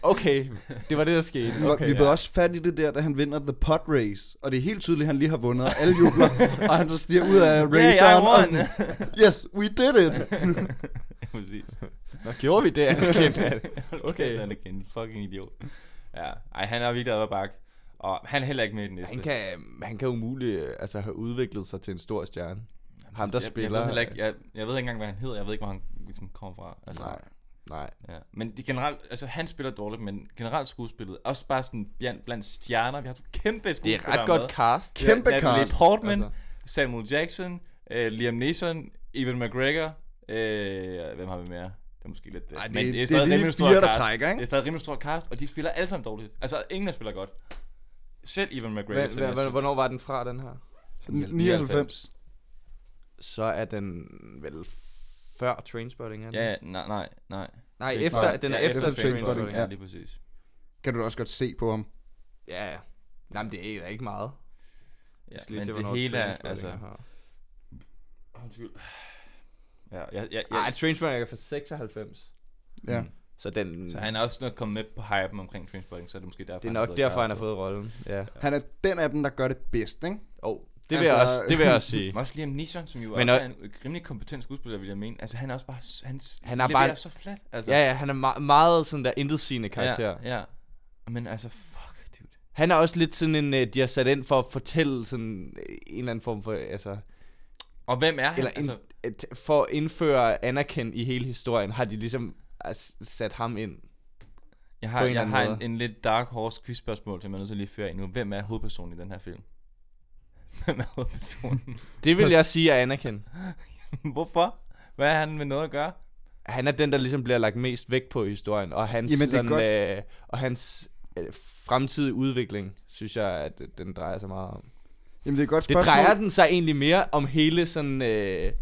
S2: Okay, det var det, der skete.
S3: Okay,
S2: Okay.
S3: vi blev også fat i det der, da han vinder The Pot Race. Og det er helt tydeligt, at han lige har vundet, og alle jubler. og han så stiger ud af raceren og sådan, yes, we did it.
S1: Ja, Præcis.
S2: Nå, gjorde vi det, anerkendt? Okay.
S1: Okay. Anakin, fucking idiot. Ja, ej, han er virkelig ad bak. Og han er heller ikke med i den næste.
S2: Han kan, han kan umuligt øh, altså, have udviklet sig til en stor stjerne. Ham, der
S1: jeg,
S2: spiller...
S1: Jeg ved, heller ikke, jeg, jeg ved ikke engang, hvad han hedder. Jeg ved ikke, hvor han ligesom kommer fra. Altså,
S2: Nej, nej.
S1: Ja. Men det generelt, altså han spiller dårligt, men generelt skuespillet, også bare sådan blandt, blandt stjerner. Vi har haft kæmpe
S2: Det
S1: skuespillere
S2: er ret godt cast.
S3: Kæmpe
S1: Natalie
S3: cast,
S1: Portman,
S2: altså.
S1: altså. Samuel Jackson, øh, Liam Neeson, Evan McGregor. Øh, hvem har vi mere? Det er måske lidt... Øh,
S3: Ej, det-
S1: men
S3: det er
S1: stadig
S3: de
S1: rimelig stor
S3: fire, der
S1: cast.
S3: trækker, ikke?
S1: Det er stadig rimelig stor cast, og de spiller alle sammen dårligt. Altså, ingen der spiller godt. Selv Evan McGregor.
S2: Hva-
S1: selv
S2: hva- hva- Hvornår var den fra, den her?
S3: 99.
S2: Så er den vel før Trainspotting, er den?
S1: Ja, ja, nej, nej, nej.
S2: Nej, efter, den er
S1: ja,
S2: efter Trainspotting.
S1: Ja,
S3: ja.
S1: lige præcis.
S3: Kan du da også godt se på ham.
S2: Ja, ja. Nej, men det er jo ikke meget.
S1: Ja,
S2: Jeg skal lige
S1: men
S2: se,
S1: det
S2: hvornår
S1: hele er,
S2: Trainspotting
S1: altså...
S2: her.
S1: Undskyld. Ja, jeg, jeg, jeg,
S2: Ej, Trainspotting er fra 96.
S3: Ja.
S1: Mm.
S2: Så, den,
S1: Så han er også nok kommet med på hypen omkring Trainspotting, så er det måske derfor,
S2: det er
S1: blevet
S2: nok derfor, han har
S1: castet.
S2: fået rollen. Ja.
S3: Han er den af dem, der gør det bedst, ikke?
S2: Oh, det, vil jeg
S3: Altså-
S2: også, det vil jeg også sige.
S1: Men også Liam Neeson, som jo
S2: Men
S1: Men
S2: og-
S1: også er en rimelig kompetent skuespiller, vil jeg mene. Altså, han er også bare... s- Hans
S2: Han er
S1: leverer
S2: bare-
S1: så flat, altså.
S2: Ja, ja, han er me- meget sådan der intetsigende karakter. Ja.
S1: Ja, ja. Men altså, fuck, dude.
S2: Han er også lidt sådan en, øh, de har sat ind for at fortælle sådan øh, en eller anden form for, altså,
S1: Og hvem er han?
S2: eller
S1: altså,
S2: altså, et, for at indføre Anakin i hele historien, har de ligesom øh, s- sat ham ind.
S1: jeg har,
S2: på en
S1: jeg
S2: eller anden
S1: har en,
S2: måde.
S1: en, lidt dark horse quiz-spørgsmål, som jeg er nødt til lige at føre ind nu. Hvem er hovedpersonen i den her film? Hvem er hovedpersonen?
S2: Det vil jeg sige er Anakin.
S1: Hvorfor? Hvad har han med noget at gøre?
S2: han er den, der ligesom bliver lagt mest vægt på i historien, og hans,
S3: Jamen, det er
S2: sådan, øh, og hans øh, fremtidige udvikling, synes jeg, at øh, den drejer sig meget om.
S3: Jamen, det er et godt
S2: Det
S3: spørgsmål.
S2: drejer den sig egentlig mere om hele sådan... Øh,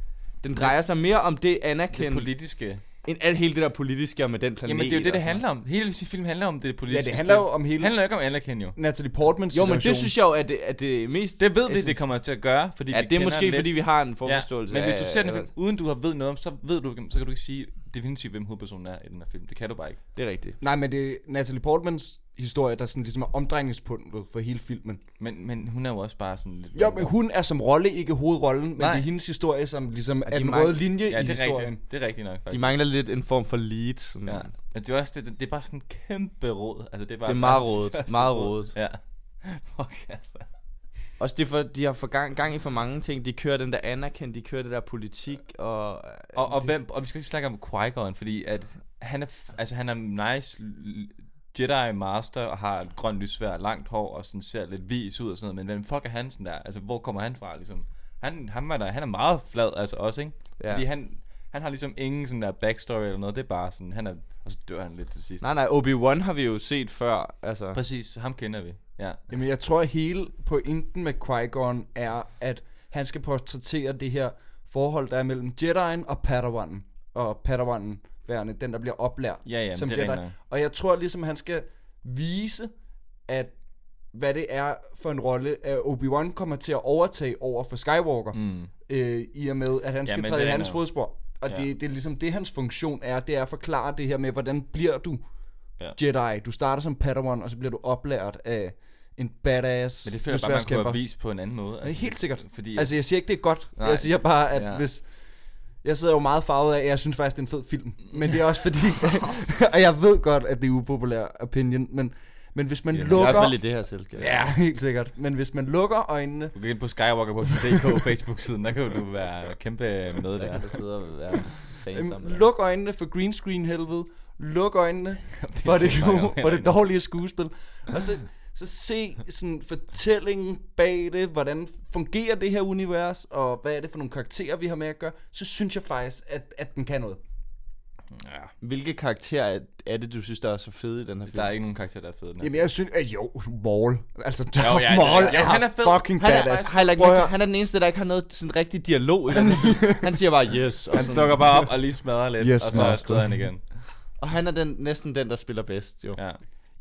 S2: den drejer sig mere om det
S1: Det
S2: anerkendelse,
S1: politiske.
S2: end alt hele det der politiske og med den planet.
S1: Jamen, det er jo
S2: og
S1: det, det
S2: sådan
S1: handler om. Hele filmen handler om det
S3: Ja,
S1: politiske.
S3: det handler jo
S1: spil.
S3: om
S1: Det
S3: hele
S1: handler jo ikke om Anakin, jo.
S3: Natalie Portmans
S2: noget. Jo, men
S3: situation.
S2: det synes jeg jo, at det, at det mest...
S1: Det ved
S2: jeg
S1: vi, det
S2: synes-
S1: kommer til at gøre, fordi
S2: Ja,
S1: vi
S2: det er
S1: kender
S2: måske,
S1: den lidt.
S2: fordi vi har en
S1: Ja,
S2: forforståelse
S1: men hvis du
S2: af-
S1: ser den her
S2: af-
S1: film, uden du har ved noget om, så ved du, ikke- så kan du ikke sige definitivt, hvem hovedpersonen er i den her film. Det kan du bare ikke.
S2: Det er rigtigt.
S3: Nej, men det er Natalie Portmans historie, der sådan ligesom er omdrejningspunktet for hele filmen.
S1: Men, men hun er jo også bare sådan lidt...
S3: Jo, men hun er som rolle ikke hovedrollen, men Nej.
S1: Nej.
S3: det er hendes historie, som ligesom er
S2: de
S3: den
S2: mange-
S3: røde linje
S1: ja,
S3: i
S1: det er
S3: historien.
S1: rigtigt. Det er rigtigt nok,
S2: De
S1: faktisk.
S2: mangler lidt en form for lead. Sådan.
S1: Ja.
S2: Ja.
S1: Altså, det er, også, det, det er bare sådan en kæmpe råd. Altså, det er, bare
S2: Det er meget
S1: verdens
S2: rodet.
S1: største
S2: Meget
S1: rod.
S2: rodet.
S1: Ja. Fuck, altså.
S2: Også det er for, de har for gang, gang i for mange ting. De kører den der anerkendt, de kører det der politik, og...
S1: Og, og, hvem, og vi skal lige snakke om Qui-Gon, fordi at han er, f- altså, han er nice l- Jedi Master og har et grønt lysvær, langt hår og sådan ser lidt vis ud og sådan noget, men hvem fuck er han sådan der? Altså, hvor kommer han fra, ligesom? Han, han, er, der, han er meget flad, altså også, ikke?
S2: Ja.
S1: Ja. Fordi han, han har ligesom ingen sådan der backstory eller noget, det er bare sådan, han er, og så dør han lidt til sidst.
S2: Nej, nej, Obi-Wan har vi jo set før, altså.
S1: Præcis, ham kender vi, ja.
S3: Jamen, jeg tror, at hele pointen med Qui-Gon er, at Han skal portrættere det her forhold, der er mellem Jedien og Padawanen. Og Padawanen værende, den der bliver oplært
S1: Ja, ja, men
S3: som
S1: det er
S3: Jedi.
S1: rigtigt nok.
S3: Og jeg tror ligesom, han skal vise, at hvad det er for en rolle, at Obi-Wan kommer til at overtage over for Skywalker, mm. øh, i og med, at han skal
S1: men det
S3: ja, træde i
S1: er
S3: hans
S1: nok.
S3: fodspor. Og
S1: Ja.
S3: ja. det, det er ligesom det, hans funktion er, det er at forklare det her med, hvordan bliver du ja. Jedi? Du starter som Padawan, og så bliver du oplært af en badass
S1: Men det føler jeg bare, man kunne
S3: sværdstkæmper.
S1: have vist på en anden måde.
S3: Men helt sikkert.
S1: Fordi,
S3: Altså, jeg siger ikke, det er godt. Nej.
S1: Nej.
S3: Jeg siger bare, at
S1: Ja.
S3: ja. hvis... Jeg sidder jo meget farvet af, at jeg synes faktisk, det er en fed film. Men det er også fordi... og jeg ved godt, at det er upopulær opinion, men, men hvis man ja,
S2: I hvert
S3: lukker...
S2: fald i det her selskab.
S3: Ja, helt sikkert. Men hvis man lukker øjnene...
S1: du kan ind på skywalker.dk Facebook-siden, der kan du være kæmpe med
S2: Der
S1: der.
S2: kan du sidde og være fan
S3: Øhm,
S2: sammen.
S3: luk øjnene for green screen helvede. Luk øjnene for det,
S1: snakker om
S3: gode, for det
S1: herinde.
S3: dårlige skuespil. Og så, så se sådan fortællingen bag det, hvordan fungerer det her univers, og hvad er det for nogle karakterer, vi har med at gøre, så synes jeg faktisk, at, at den kan noget.
S2: Hvilke karakterer er, er det, du synes, der er så fede i den her film?
S1: Der er ikke nogen karakter, der er fede.
S3: Jamen jeg synes, at jo, Maul, altså Darth
S1: Jo,
S3: jo,
S1: ja, ja,
S3: ja, Maul
S1: ja, ja,
S3: er,
S1: han
S3: han
S1: er
S3: er
S1: fed.
S3: fucking
S2: Han er,
S3: badass.
S2: har jeg lagt
S3: Prøv
S2: mærke
S3: at
S2: til, han er den eneste, der ikke har noget sådan rigtig dialog. i den. han siger bare yes. Og,
S1: Han
S2: sådan,
S1: dukker bare op og lige smadrer lidt,
S3: Yes,
S1: og så er
S3: master.
S1: stedet han igen.
S2: og han er den, næsten den, der spiller bedst. Jo.
S1: Ja.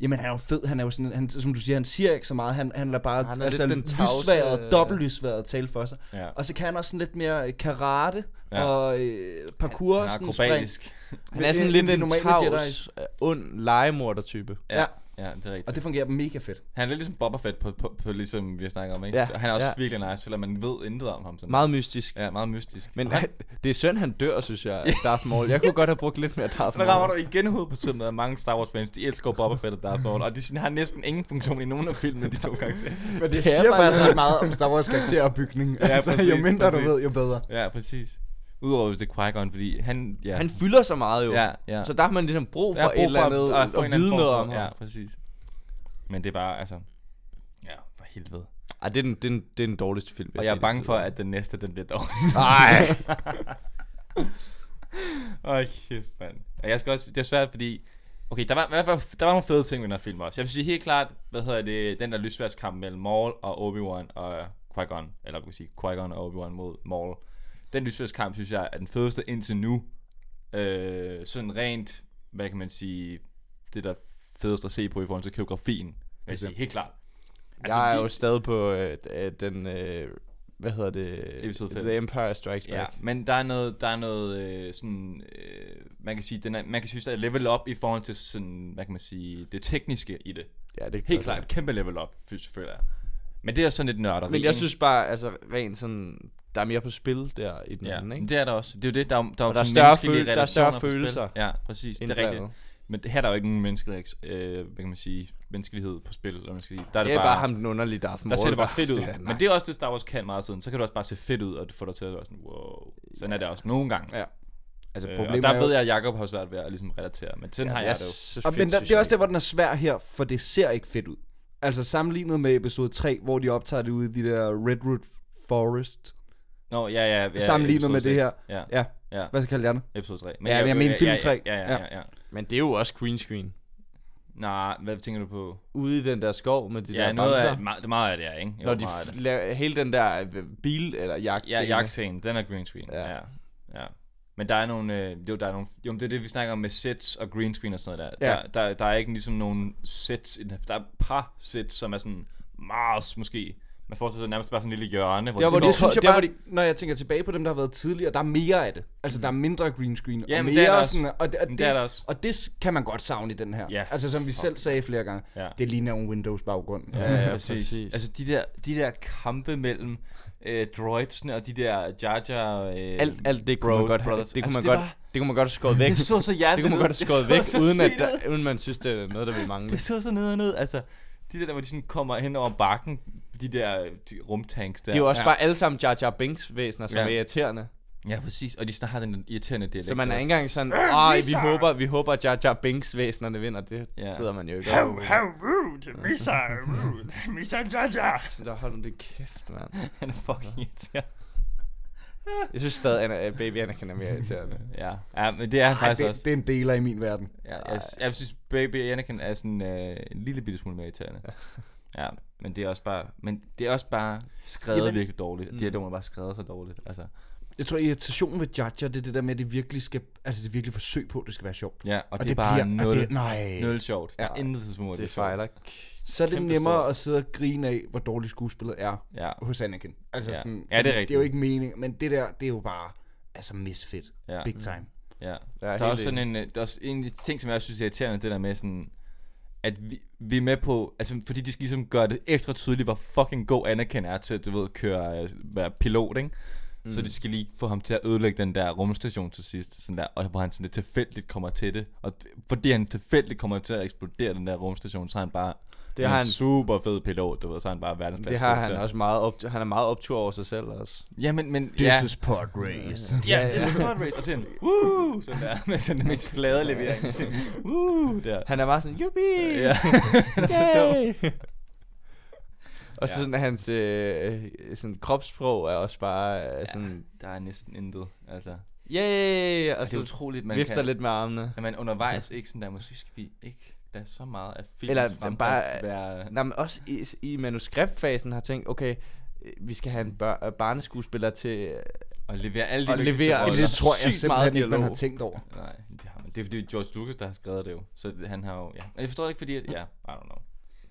S3: Jamen han er jo fed, han er jo sådan, han, som du siger, han siger ikke så meget, han, han lader bare
S2: Han
S3: han
S2: er
S3: altså,
S2: lidt
S3: den
S2: den tavse-
S3: lysværet, dobbelt lysværet tale for sig.
S1: Ja.
S3: Og så kan han også sådan lidt mere øh, karate
S1: Ja.
S3: ja. og øh, parkour.
S1: Han er
S3: sådan
S1: akrobatisk.
S2: Han er sådan lidt
S3: Det er de
S2: en
S3: normale
S2: tavs, øh, ond legemorder-type.
S1: Ja. Ja, det er rigtigt.
S3: Og det fungerer mega fedt.
S1: Han er lidt ligesom Boba Fett på, på, på ligesom vi har snakket om, ikke?
S2: Ja,
S1: Og Han er også
S2: ja.
S1: virkelig nice, selvom man ved intet om ham. Sådan.
S2: Meget mystisk.
S1: Ja, meget mystisk.
S2: Men
S1: Og han,
S2: det er synd, han dør, synes jeg, Darth Maul. Jeg kunne godt have brugt lidt mere Darth
S1: der rammer du
S2: Maul.
S1: igen hovedet på tømmet af mange Star Wars fans. De elsker Boba Fett og Darth Maul, og de sådan, har næsten ingen funktion i nogen af filmene, de to karakterer.
S3: Men det, det
S2: er
S3: siger
S2: bare-
S3: faktisk ret meget om Star Wars karakteropbygning. Ja, altså,
S1: præcis,
S3: jo mindre
S1: præcis.
S3: du ved, jo bedre.
S1: Ja, præcis. Udover hvis det er Qui-Gon, fordi han... Ja,
S2: Han fylder så meget jo.
S1: Ja, ja.
S2: Så der har man ligesom brug for
S1: Ja,
S2: et eller
S1: at-
S2: andet,
S1: at få en
S2: at,
S1: eller anden
S2: vide
S1: form
S2: noget
S1: for-
S2: om ham.
S1: Ja, præcis. Men det er bare, altså... Ja, for helvede.
S2: Ej, det er den, det er den, det er den dårligste film,
S1: Og jeg er bange for, at den næste, den bliver dårlig.
S2: Nej.
S1: Åh, kæft, mand. Og jeg skal også, det er svært, fordi... Okay, der var, i hvert fald- der var nogle fede ting ved den her film også. Jeg vil sige helt klart, hvad hedder det, den der lysværdskamp mellem Maul og Obi-Wan og Qui-Gon, eller man kan sige Qui-Gon og Obi-Wan mod Maul. Den lysværdskamp, synes jeg, er den fedeste indtil nu. Øh, sådan rent, hvad kan man sige, det der fedeste at se på i forhold til koreografien. vil Jeg sige, helt klart.
S2: altså, jeg er
S1: de-
S2: jo stadig på øh, øh, den, øh, hvad hedder det?
S1: Episode fem.
S2: The Empire Strikes
S1: Ja,
S2: Back.
S1: men der er noget, der er noget øh, sådan, øh, man kan sige, den er, man kan synes, der er level up i forhold til sådan, hvad kan man sige, det tekniske i det.
S2: Ja, det
S1: Helt klart, et kæmpe level up, fy- selvfølgelig er. Men det er sådan lidt nørderi.
S2: Men jeg
S1: ikke?
S2: synes bare, altså rent sådan, der er mere på spil der i den
S1: ja,
S2: anden,
S1: men
S2: Mm, ikke?
S1: det er der også. Det er jo det, der, er- der, er jo
S2: der er
S1: sådan
S2: større
S1: menneskelige
S2: føl- der er større
S1: relationer på spil.
S2: følelser
S1: Ja, præcis, det er
S2: indblandet.
S1: rigtigt. Men her er der jo ikke nogen menneskelig, øh, hvad kan man sige, menneskelighed på spil, eller man skal sige. Der er det,
S2: Det er bare ham den underlige Darth Maul.
S1: der ser det bare fedt ud.
S2: Ja,
S1: Men det er også det, Star Wars kan meget siden. Så kan du også bare se fedt ud, og du får dig til at være sådan, wow. Sådan er det også nogle gange.
S2: Ja.
S1: Altså, øh, og
S3: problemet
S1: der
S3: er jo-
S1: ved jeg, at Jacob har svært ved at ligesom, relatere, men sådan ja, har jeg det jo.
S3: Og men der, det er også der, hvor den er svær her, for det ser ikke fedt ud. Altså sammenlignet med episode 3, hvor de optager det ude i de der Redwood Forest.
S1: Nå, ja, ja. ja
S3: Sammenlignet
S1: episode
S3: med det
S1: seks.
S3: her.
S1: Ja,
S3: Ja,
S1: ja.
S3: hvad skal jeg kalde det andet?
S1: Episode 3.
S3: Ja, men jeg mener film tre.
S1: Ja, ja, ja. ja.
S2: Men det er jo også green screen.
S1: Nej, hvad tænker du på?
S2: Ude i den der skov med de
S1: Ja,
S2: der
S1: noget
S2: bamser.
S1: af, meget, det er meget af det er, ikke? Jo,
S2: Når de
S1: meget af det.
S2: f- laver hele den der øh, bil eller jagt
S1: Ja, jagtscenen, den er green screen. Ja.
S2: Ja.
S1: ja. ja. Men der er nogle, øh, jo, der er nogle, jo, men det er det, vi snakker om med sets og green screen og sådan noget der.
S3: Ja.
S1: Der, der, der er ikke ligesom nogen sets, i den her- der er et par sets, som er sådan Mars måske. Man får så nærmest bare sådan en lille hjørne, hvor
S2: Der,
S1: de står.
S2: hvor de
S3: Altså, Det synes jeg
S2: der var
S3: bare, når jeg tænker tilbage på dem, der har været tidligere, der er mere af det. Altså, der er mindre green screen,
S1: Ja, men
S3: og mere
S1: det er der også.
S3: sådan, og, det, og,
S1: Men
S3: det,
S1: det er der også.
S3: og det s- kan man godt savne i den her.
S1: Ja.
S3: Altså, som vi selv sagde flere gange,
S1: Ja.
S3: det ligner en Windows-baggrund. Ja.
S1: Ja, ja, præcis.
S2: præcis.
S1: præcis. Altså de der, de der kampe mellem øh, droidsene og de der Jar Jar... Øh,
S2: Alt, alt det kunne
S1: Bros
S2: man godt have,
S1: Brothers.
S2: det kunne
S1: Altså,
S2: man
S1: det
S2: godt,
S1: var-
S2: det kunne man godt have skåret væk.
S1: Det så så hjertet
S2: Det kunne man godt have skåret væk, uden at
S1: der...
S2: der, uden man synes, det er noget, der vil mangle.
S1: Det så så ned og ned. Altså, de der, der hvor de sådan kommer hen over bakken, de der øh, de rumtanks der.
S2: Det er jo også bare alle sammen Jar Jar Binks væsener, som
S1: Ja.
S2: er irriterende.
S1: Ja, præcis. Og de sådan har den irriterende dialekt.
S2: Så man er
S1: også.
S2: ikke engang sådan, ej, vi håber, vi håber, at Jar Jar Binks væsenerne vinder. Det
S1: Ja.
S2: sidder man jo ikke over.
S5: rude, Misa, rude, Misa Jaja.
S2: Så der holder det kæft, mand.
S1: Han er fucking irriterende.
S2: Jeg synes stadig, at Baby Anakin er mere irriterende.
S1: Ja, ja men det er han
S3: Ej,
S1: faktisk
S3: det,
S1: også.
S3: det er en deler i min verden.
S1: Ja, jeg, jeg, synes, Baby Anakin er sådan øh, en lille bitte smule mere irriterende. Ja, men det er også bare, men det er også bare skrevet
S3: Jamen-
S1: Jamen. virkelig dårligt. Mm. Dialogen er bare skrevet så dårligt. Altså,
S3: Jeg tror, irritationen ved Jar Jar, det er det der med, at det virkelig skal, altså det er virkelig forsøg på, at det skal være sjovt.
S1: ja, og, og det,
S3: det
S1: er bare
S3: bliver-
S1: bliver,
S3: og
S1: nul,
S3: det- nej.
S1: nul sjovt. Ja.
S3: Nej.
S1: Intet tidspunkt.
S2: Det fejler. k-
S3: Så er det
S2: Kæmpe
S3: nemmere
S2: stor.
S3: at sidde og grine af, hvor dårligt skuespillet er
S1: Ja,
S3: hos Anakin. Altså
S1: Ja.
S3: sådan,
S1: Ja, det er
S3: fordi Det er jo
S1: rigtigt.
S3: ikke mening, men det der, det er jo bare, altså misfit.
S1: ja, Mm.
S3: Big time.
S1: ja.
S2: Jeg
S1: Der er
S2: helt
S1: også sådan
S2: enig.
S1: en, øh, der er også en af de ting, som jeg også synes er irriterende, det der med sådan, at vi, vi er med på, altså fordi de skal ligesom gøre det ekstra tydeligt, hvor fucking god Anakin er til at, du ved, køre, øh, være pilot, ikke? Mm. Så de skal lige få ham til at ødelægge den der rumstation til sidst, sådan der, og hvor han sådan lidt tilfældigt kommer til det. Og d- fordi han tilfældigt kommer til at eksplodere den der rumstation, så er han bare
S2: Det har
S1: en
S2: han,
S1: super fed pilot, du ved, så er han bare verdensklasse.
S2: det har
S1: pilot.
S2: han også meget op, han er meget optur over sig selv også.
S1: Ja, men, men ja.
S3: is pod race.
S1: Ja, det er så godt race, og sådan, woo, sådan der, med sådan den mest flade levering, sådan, woo, der.
S2: Han er bare sådan, yuppie!
S1: Ja, han er så dum.
S2: Yay! Og så sådan hans øh, øh, sådan kropssprog er også bare øh, sådan,
S1: Der er næsten intet, altså.
S2: yay!
S1: Altså, det
S2: Og
S1: er
S2: så
S1: utroligt, man
S2: vifter
S1: kan,
S2: lidt med armene.
S1: at man undervejs ikke sådan der, måske skal vi ikke lade så meget af filmens
S2: Eller
S1: fremdrift
S2: bare-
S1: være...
S2: Nej, men også i, i manuskriptfasen har tænkt, okay, øh, vi skal have en bør- øh, barneskuespiller til... øh,
S1: Og levere alle de
S2: Og
S1: vigtigste
S2: levere-
S1: roller.
S6: Det tror jeg
S2: sygt meget
S6: simpelthen ikke, man har
S2: dialog.
S6: tænkt over.
S1: Nej, det har man. Det er fordi det er George Lucas, der har skrevet det jo. Så det- han har jo... Ja. Og Jeg forstår det ikke, fordi... At, ja, I don't know.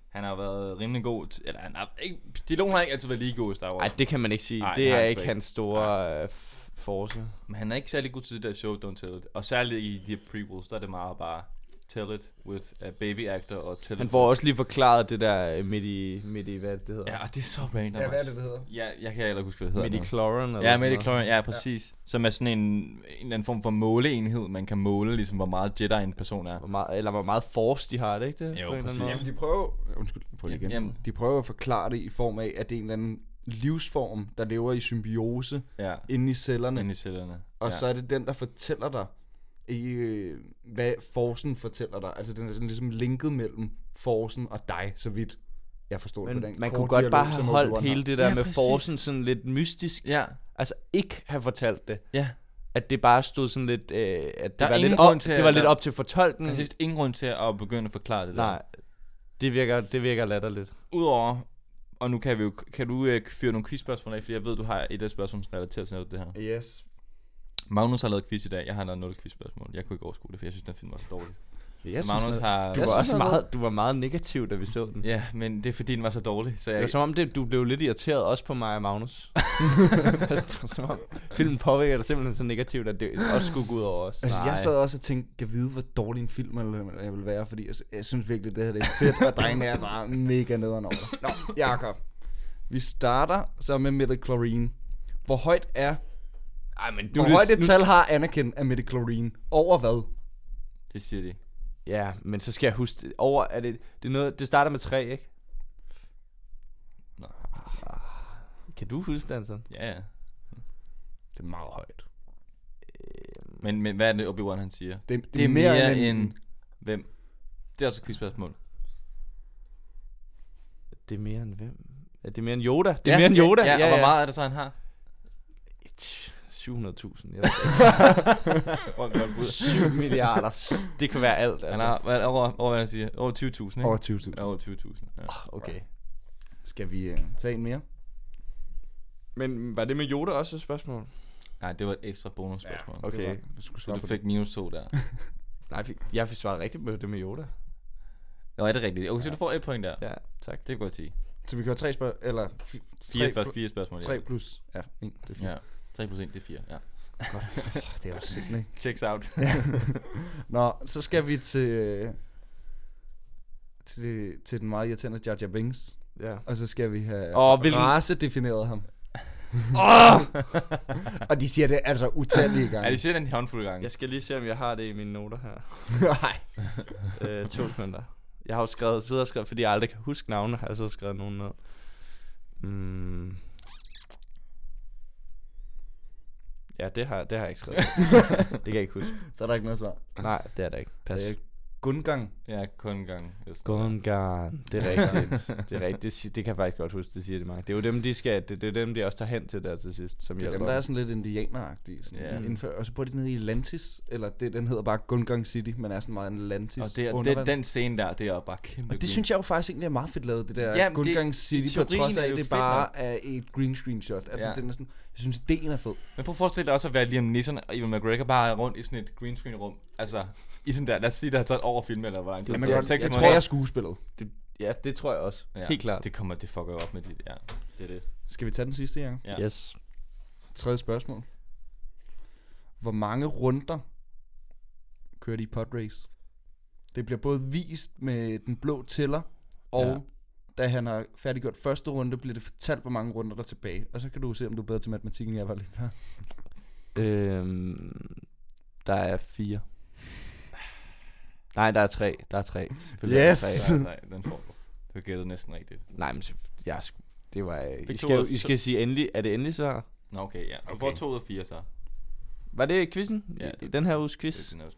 S1: Han har jo været rimelig god... Til, eller han har ikke... Dialogen har ikke altid været lige god i Star Wars.
S2: Ej, det kan man ikke sige.
S1: Nej,
S2: det
S1: det har
S2: er
S1: han
S2: ikke
S1: sgu ikke.
S2: hans store øh, f- force.
S1: Men han er ikke særlig god til det der show, don't tell it. Og særligt i de her prequels, der er det meget bare... Tell it with a baby actor og tell
S2: Han
S1: it
S2: får også lige forklaret det der øh, midt i, midt i hvad det hedder.
S1: Ja, og det er så random.
S3: Ja, hvad er
S1: altså.
S3: det, det hedder?
S1: Ja, jeg kan heller ikke huske, hvad det hedder.
S2: midt i
S1: nu.
S2: Cloran eller
S1: Ja,
S2: sådan
S1: med
S2: noget.
S1: Chlorian, ja, præcis. Ja. Som er sådan en, en eller anden form for måleenhed, man kan måle, ligesom hvor meget Jedi en person er.
S2: Hvor meget, eller hvor meget force de har, er det ikke det?
S1: Jo,
S2: På en eller anden
S1: præcis.
S2: måde.
S3: Jamen, de prøver, undskyld, prøv lige igen.
S1: Jamen,
S6: De prøver at forklare det i form af, at det er en eller anden livsform, der lever i symbiose
S1: ja,
S6: inde i cellerne.
S1: inde i cellerne.
S6: Og
S1: ja.
S6: så er det den, der fortæller dig, i, øh, hvad forsen fortæller dig. Altså den er sådan ligesom linket mellem forsen og dig, så vidt jeg forstår det på den
S2: Men man
S6: korte
S2: kunne godt
S6: dialog,
S2: bare
S6: som
S2: have
S6: Obi-Wan
S2: holdt
S6: har.
S2: hele det der
S1: Ja,
S2: med
S1: præcis.
S2: forcen sådan lidt mystisk.
S1: Ja,
S2: Altså ikke have fortalt det.
S1: ja.
S2: At det bare stod sådan lidt, øh, at det
S1: Der er
S2: var, lidt
S1: ingen
S2: op,
S1: grund til,
S2: det var
S1: at
S2: lidt
S1: der-
S2: op til fortolkning.
S1: Jeg synes ingen grund til at begynde at forklare det der.
S2: Nej, det virker, det virker latterligt.
S1: Udover, og nu kan vi jo, kan du øh, fyre nogle quizspørgsmål af, fordi jeg ved, du har et af spørgsmålene, som relaterer til netop det her.
S6: Yes.
S1: Magnus har lavet quiz i dag, jeg har lavet 0 quizspørgsmål. Jeg kunne ikke overskue det, for jeg synes, den film var så dårlig.
S6: Jeg
S1: Så Magnus har...
S2: Du
S6: Jeg
S2: var
S6: synes,
S2: også
S6: han var-
S2: meget, du var meget negativ, da vi så den.
S1: Ja, men det er fordi, den var så dårlig, så
S2: Det var
S1: jeg...
S2: som om, det, du blev lidt irriteret også på mig og Magnus. Altså, det var som om, filmen påvirker dig simpelthen så negativt, at det også skulle gå ud over os.
S6: Altså,
S1: Nej.
S6: jeg sad også og tænkte, jeg vide, hvor dårlig en film eller- jeg vil være, fordi jeg, jeg synes virkelig, det her det er fedt, og drengene er bare mega nederen over. det. Nå, Jakob. Vi starter så med midichlorine. Hvor højt er...
S2: Ej, men
S6: Hvor højt et tal har Anakin af midichlorine? Over hvad?
S1: Det siger de.
S2: Ja, men så skal jeg huske det. over, er det, det, er noget, det starter med tre, ikke?
S1: Nå. Øh,
S2: Kan du huske det, Anson?
S1: Ja, ja.
S6: Det er meget højt.
S1: Men, men hvad er det, Obi-Wan han siger?
S6: Det,
S1: Det er mere, mere end, end hvem? Det er også et quizspørgsmål.
S2: Det er mere end hvem? Er det mere end Yoda? Det er mere end Yoda.
S1: Ja, ja, ja, og hvor meget er det så, han har?
S2: 700.000. jeg
S1: Hvor godt
S2: ved- 7 milliarder. Det kan være alt,
S1: Han
S2: altså.
S1: har, hvad, er det over, over, hvad han siger? Over 20.000, ikke?
S6: Over
S1: Over,
S6: 20.000.
S1: over 20.000, ja.
S2: Okay.
S6: Skal vi uh, tage en mere?
S2: Men var det med Yoda også et spørgsmål?
S1: Nej, det var et ekstra bonusspørgsmål. Ja,
S2: Okay.
S6: Det var, vi skulle
S1: Så
S6: svare
S1: du
S6: på det.
S1: fik minus 2 der.
S2: Nej, jeg fik- jeg fik svaret rigtigt på det med Yoda.
S1: Nå, er det rigtigt? Okay, så du får et point der.
S2: Ja, tak.
S1: Det kan godt sige.
S6: Så vi kører tre spørg... Eller... fi-
S1: 4,
S6: tre,
S1: først, 4 spørgsmål.
S6: tre plus... Ja, en, det er fint.
S1: Ja. ja. 3 plus 1, det er 4. Ja.
S6: Det er også sindssygt, ikke?
S1: Checks out.
S6: Nå, så skal vi til, øh, til, til den meget irriterende Jar Jar Binks.
S2: Ja.
S6: Og så skal vi have oh,
S2: Åh, hvilken-
S6: racedefineret ham. og de siger det altså utallige
S1: ja, de
S6: gange.
S1: siger den en håndfuld gange.
S2: Jeg skal lige se, om jeg har det i mine noter her.
S6: Nej.
S2: øh, to sekunder. Jeg har jo skrevet, siddet og skrevet, fordi jeg aldrig kan huske navne, har jeg så skrevet nogen ned. Mm. Ja, det har, det har jeg ikke skrevet. det kan jeg ikke huske.
S6: Så er der ikke noget svar.
S2: Nej, det er der ikke. Pas.
S6: Det er Gungang.
S1: Ja, kun en gang. eller sådan noget.
S2: Gungan. Det er rigtigt. det er rigtigt. Det, si- det, kan jeg faktisk godt huske, det siger de mange. Det er jo dem, de skal, det, det er dem, de også tager hen til der til sidst, som
S3: Det er
S2: hjælper.
S3: dem, der er sådan lidt indianeragtige. Sådan
S1: Ja.
S3: yeah. indfør, og så bor de nede i Atlantis, eller det, den hedder bare Gungang City, men er sådan meget en Atlantis
S1: Og det, er- det,
S3: undervands-
S1: den scene der, det er jo bare kæmpe
S3: Og det synes jeg jo faktisk egentlig er meget fedt lavet, det der
S1: Jamen,
S3: Jamen,
S1: det-
S3: Gungang
S1: i
S3: City, på
S1: teorien
S3: trods af,
S1: er det
S3: at
S1: jo
S3: det
S1: fedt
S3: bare er et green screen shot. Altså,
S1: Ja.
S3: ja. den er sådan, jeg synes, ideen er fed.
S1: Men prøv at forestille dig også at være Liam Neeson og Ewan McGregor bare rundt i sådan et green screen rum. Altså, i sådan der, lad os sige, der har taget over film eller hvor lang tid.
S2: Jamen,
S1: Det er
S2: godt,
S1: seks
S3: Jeg
S1: måneder.
S3: tror, jeg er skuespillet.
S2: Ja, det tror jeg også.
S1: Ja,
S2: Ja. Helt klart.
S1: Det kommer, det fucker jo op med dit, ja. Det er det.
S3: Skal vi tage den sidste, Jan?
S1: Ja.
S2: Yes.
S3: Tredje spørgsmål. Hvor mange runder kører de i podrace? Det bliver både vist med den blå tæller, og
S2: Ja.
S3: ja. da han har færdiggjort første runde, bliver det fortalt, hvor mange runder der er tilbage. Og så kan du se, om du er bedre til matematikken, end jeg var lige før.
S2: Øhm, der er fire. Nej, der er tre. Der er tre. Selvfølgelig
S3: Yes!
S2: Er der tre.
S1: Nej, nej, den får du. Du gættede næsten rigtigt.
S2: Nej, men så- jeg, er sgu- det var... øh, I
S1: Fik to
S2: skal, jo-
S1: ud af-
S2: I skal sige endelig... Er det endelig svar?
S1: Nå, okay, ja. Du okay.
S2: Okay.
S1: får to ud af fire, så.
S2: Var det quizzen?
S1: Ja,
S2: Ja,
S1: det-
S2: det, den her uges
S1: Det er
S2: quiz?
S1: din også.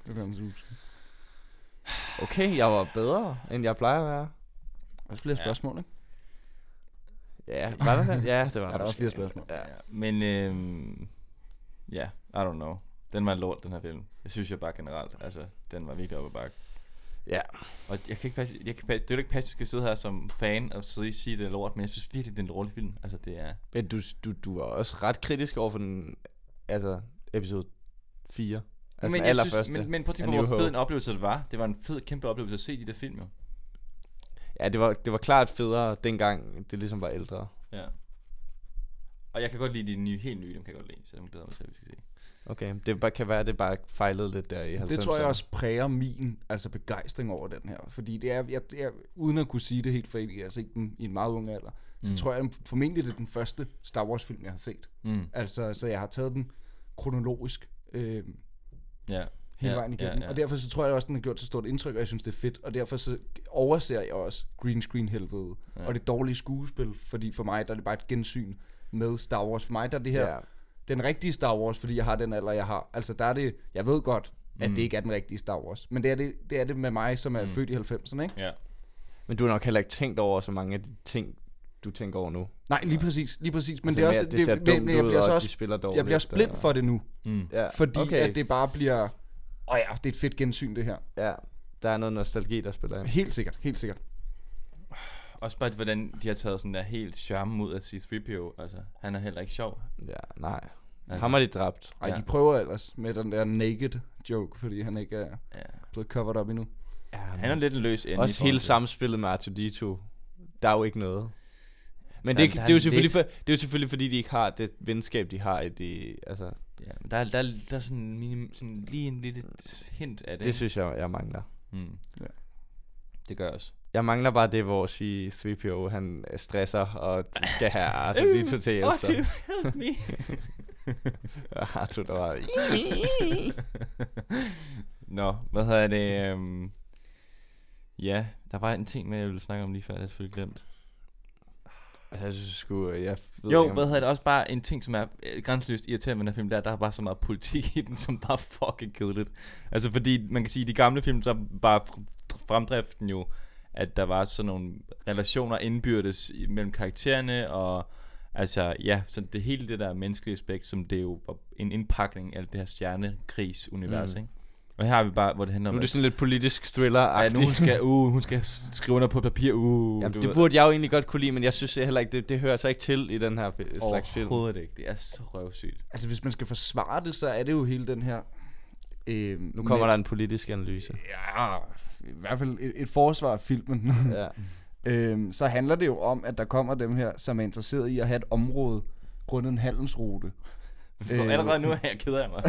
S2: Okay, jeg var bedre, end jeg plejer at være.
S3: Også flere
S1: Ja.
S3: ja. spørgsmål, ikke?
S2: Ja, var der det? Ja, det var
S3: Ja, der er også fire spørgsmål.
S2: Ja.
S1: Ja. Men, øhm, ja, I don't know. Den var en lort, den her film. Jeg synes jeg bare generelt, altså, den var virkelig oppe ad bakke.
S2: ja.
S1: Og jeg kan ikke passe, jeg kan passe, det er jo ikke passe, at jeg skal sidde her som fan og sidde og sige det er lort, men jeg synes virkelig, det er en dårlig film. Altså, det er...
S2: Men du, du, du var også ret kritisk over for den, altså, episode 4. Altså men den
S1: jeg
S2: allerførste.
S1: men, men prøv at tænke på,
S2: A New
S1: hvor
S2: Hope.
S1: fed en oplevelse det var. Det var en fed, kæmpe oplevelse at se de der film, jo.
S2: Ja, det var, det var klart federe dengang, det ligesom var ældre.
S1: Ja. Og jeg kan godt lide de nye, helt nye, dem kan jeg godt lide, så dem glæder jeg mig til, at vi skal se.
S2: Okay, det bare, kan være, det bare fejlede lidt der i 90'erne.
S3: Det tror jeg også præger min altså begejstring over den her. Fordi det er, jeg, jeg, uden at kunne sige det helt for evigt, jeg har set den i en meget ung alder, så
S1: Mm.
S3: tror jeg den- formentlig, det er den første Star Wars-film, jeg har set.
S1: Mm.
S3: Altså, så jeg har taget den kronologisk øh,
S1: Ja.
S3: hele
S1: ja,
S3: vejen igennem. Ja, ja. Og derfor så tror jeg også, den har gjort så stort indtryk, og jeg synes, det er fedt. Og derfor så overser jeg også green screen helvede
S1: Ja.
S3: ja. og det dårlige skuespil, fordi for mig der er det bare et gensyn med Star Wars. For mig der er det her
S2: Ja.
S3: ja. den rigtige Star Wars, fordi jeg har den alder, jeg har. Altså der er det, jeg ved godt, at mm. det ikke er den rigtige Star Wars. Men det er det, det, er det med mig, som er mm. født i 90'erne, ikke?
S1: Ja.
S2: Men du har nok heller ikke tænkt over så mange af de ting, du tænker over nu.
S3: Nej, lige præcis, lige præcis. Men
S2: Altså,
S3: det
S2: mere,
S3: er også,
S2: det ser
S3: men- men
S2: dumt
S3: jeg
S2: ud,
S3: bliver så
S2: og de
S3: også,
S2: spiller dårligt,
S3: jeg bliver også blind
S2: og-
S3: for det nu.
S1: Mm.
S2: Ja,
S3: Fordi
S2: okay.
S3: at det bare bliver, åh oh ja, det er et fedt gensyn det her.
S2: Ja, der er noget nostalgi, der spiller ind.
S3: Helt sikkert, helt sikkert.
S1: Også bare, hvordan de har taget sådan der helt charme ud af C-3PO. Altså, han er heller ikke sjov.
S2: Ja, nej. Altså. Ham har de dræbt.
S3: Ej,
S1: Ja.
S3: ja. de prøver ellers med den der naked joke, fordi han ikke er
S1: Ja.
S3: blevet covered up endnu.
S2: Ja,
S1: Han er lidt en løs ende. i
S2: Også
S1: forhold
S2: hele
S1: til-
S2: samspillet med R2-D2. Der er jo ikke noget. Men
S1: Der-
S2: det,
S1: der er
S2: det, er jo
S1: lidt-
S2: selvfølgelig for, det er jo selvfølgelig fordi, de ikke har det venskab, de har i de, altså, det,
S1: Ja, men der, er, der, er- der er sådan, minim, sådan lige en lille t- hint af det.
S2: det synes jeg, jeg mangler.
S1: mm.
S3: Ja.
S1: Det gør jeg også.
S2: Jeg mangler bare det, hvor C-3PO, han stresser og skal have R2-D2 til at hjælpe sig.
S1: help me.
S2: Og R2, der var...
S1: Nå, hvad hedder det? Um... Ja, der var en ting med, jeg ville snakke om lige før, det er selvfølgelig glemt.
S2: Altså, jeg synes sgu, jeg ved
S1: Jo,
S2: ikke, om-
S1: hvad hedder det? Også bare en ting, som er øh, grænseløst irriterende med den her film, der, der er bare så meget politik i den, som bare er fucking kedeligt. Altså fordi, man kan sige, i de gamle film, så var fr- fremdriften jo, at der var sådan nogle relationer indbyrdes i- mellem karaktererne, og altså, ja, så det hele det der menneskelige aspekt, som det jo var en indpakning af alt det her stjernekrigsunivers, mm.
S2: Mm.
S1: ikke? Og her har vi bare, hvor det handler
S2: Nu
S1: om,
S2: er det
S1: at
S2: sådan lidt politisk thriller
S1: ja, nu hun skal, uh, hun skal s- skrive under på et papir, uh,
S2: Jamen,
S1: ved.
S2: det burde jeg jo egentlig godt kunne lide, men jeg synes heller ikke, det, det hører sig ikke til i den her fi- slags film.
S1: Overhovedet ikke, det er så røvsygt.
S3: Altså, hvis man skal forsvare det, så er det jo hele den her... Øh,
S2: Nu kommer der en politisk analyse.
S3: Ja, i hvert fald et, et forsvar af filmen.
S2: Ja.
S3: øhm, så handler det jo om, at der kommer dem her, som er interesseret i at have et område grundet en handelsrute. Øhm,
S1: Øh. Allerede nu er jeg ked af mig.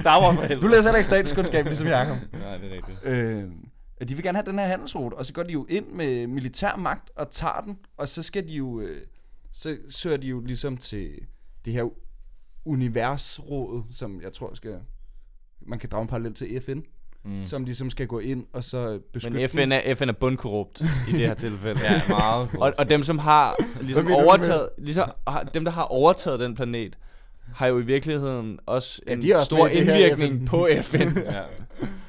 S1: Star Wars for helvede.
S3: Du læser heller ikke statskundskab, ligesom Jacob.
S1: Nej, det er rigtigt.
S3: Øh, de vil gerne have den her handelsrute, og så går de jo ind med militær magt og tager den, og så skal de jo, øh, så søger de jo ligesom til det her universråd, som jeg tror skal, man kan drage en parallel til FN, mm. som ligesom skal gå ind og så beskytte
S2: Men FN er, FN er bundkorrupt i det her tilfælde.
S1: Ja, meget.
S2: Og, og dem, som har ligesom
S3: Hvad mener du
S2: overtaget, ligesom, har- dem, der har overtaget den planet, har jo i virkeligheden også
S3: Ja,
S2: en
S3: de er også
S2: stor
S3: med i det her
S2: indvirkning
S3: FN.
S2: på FN.
S1: ja.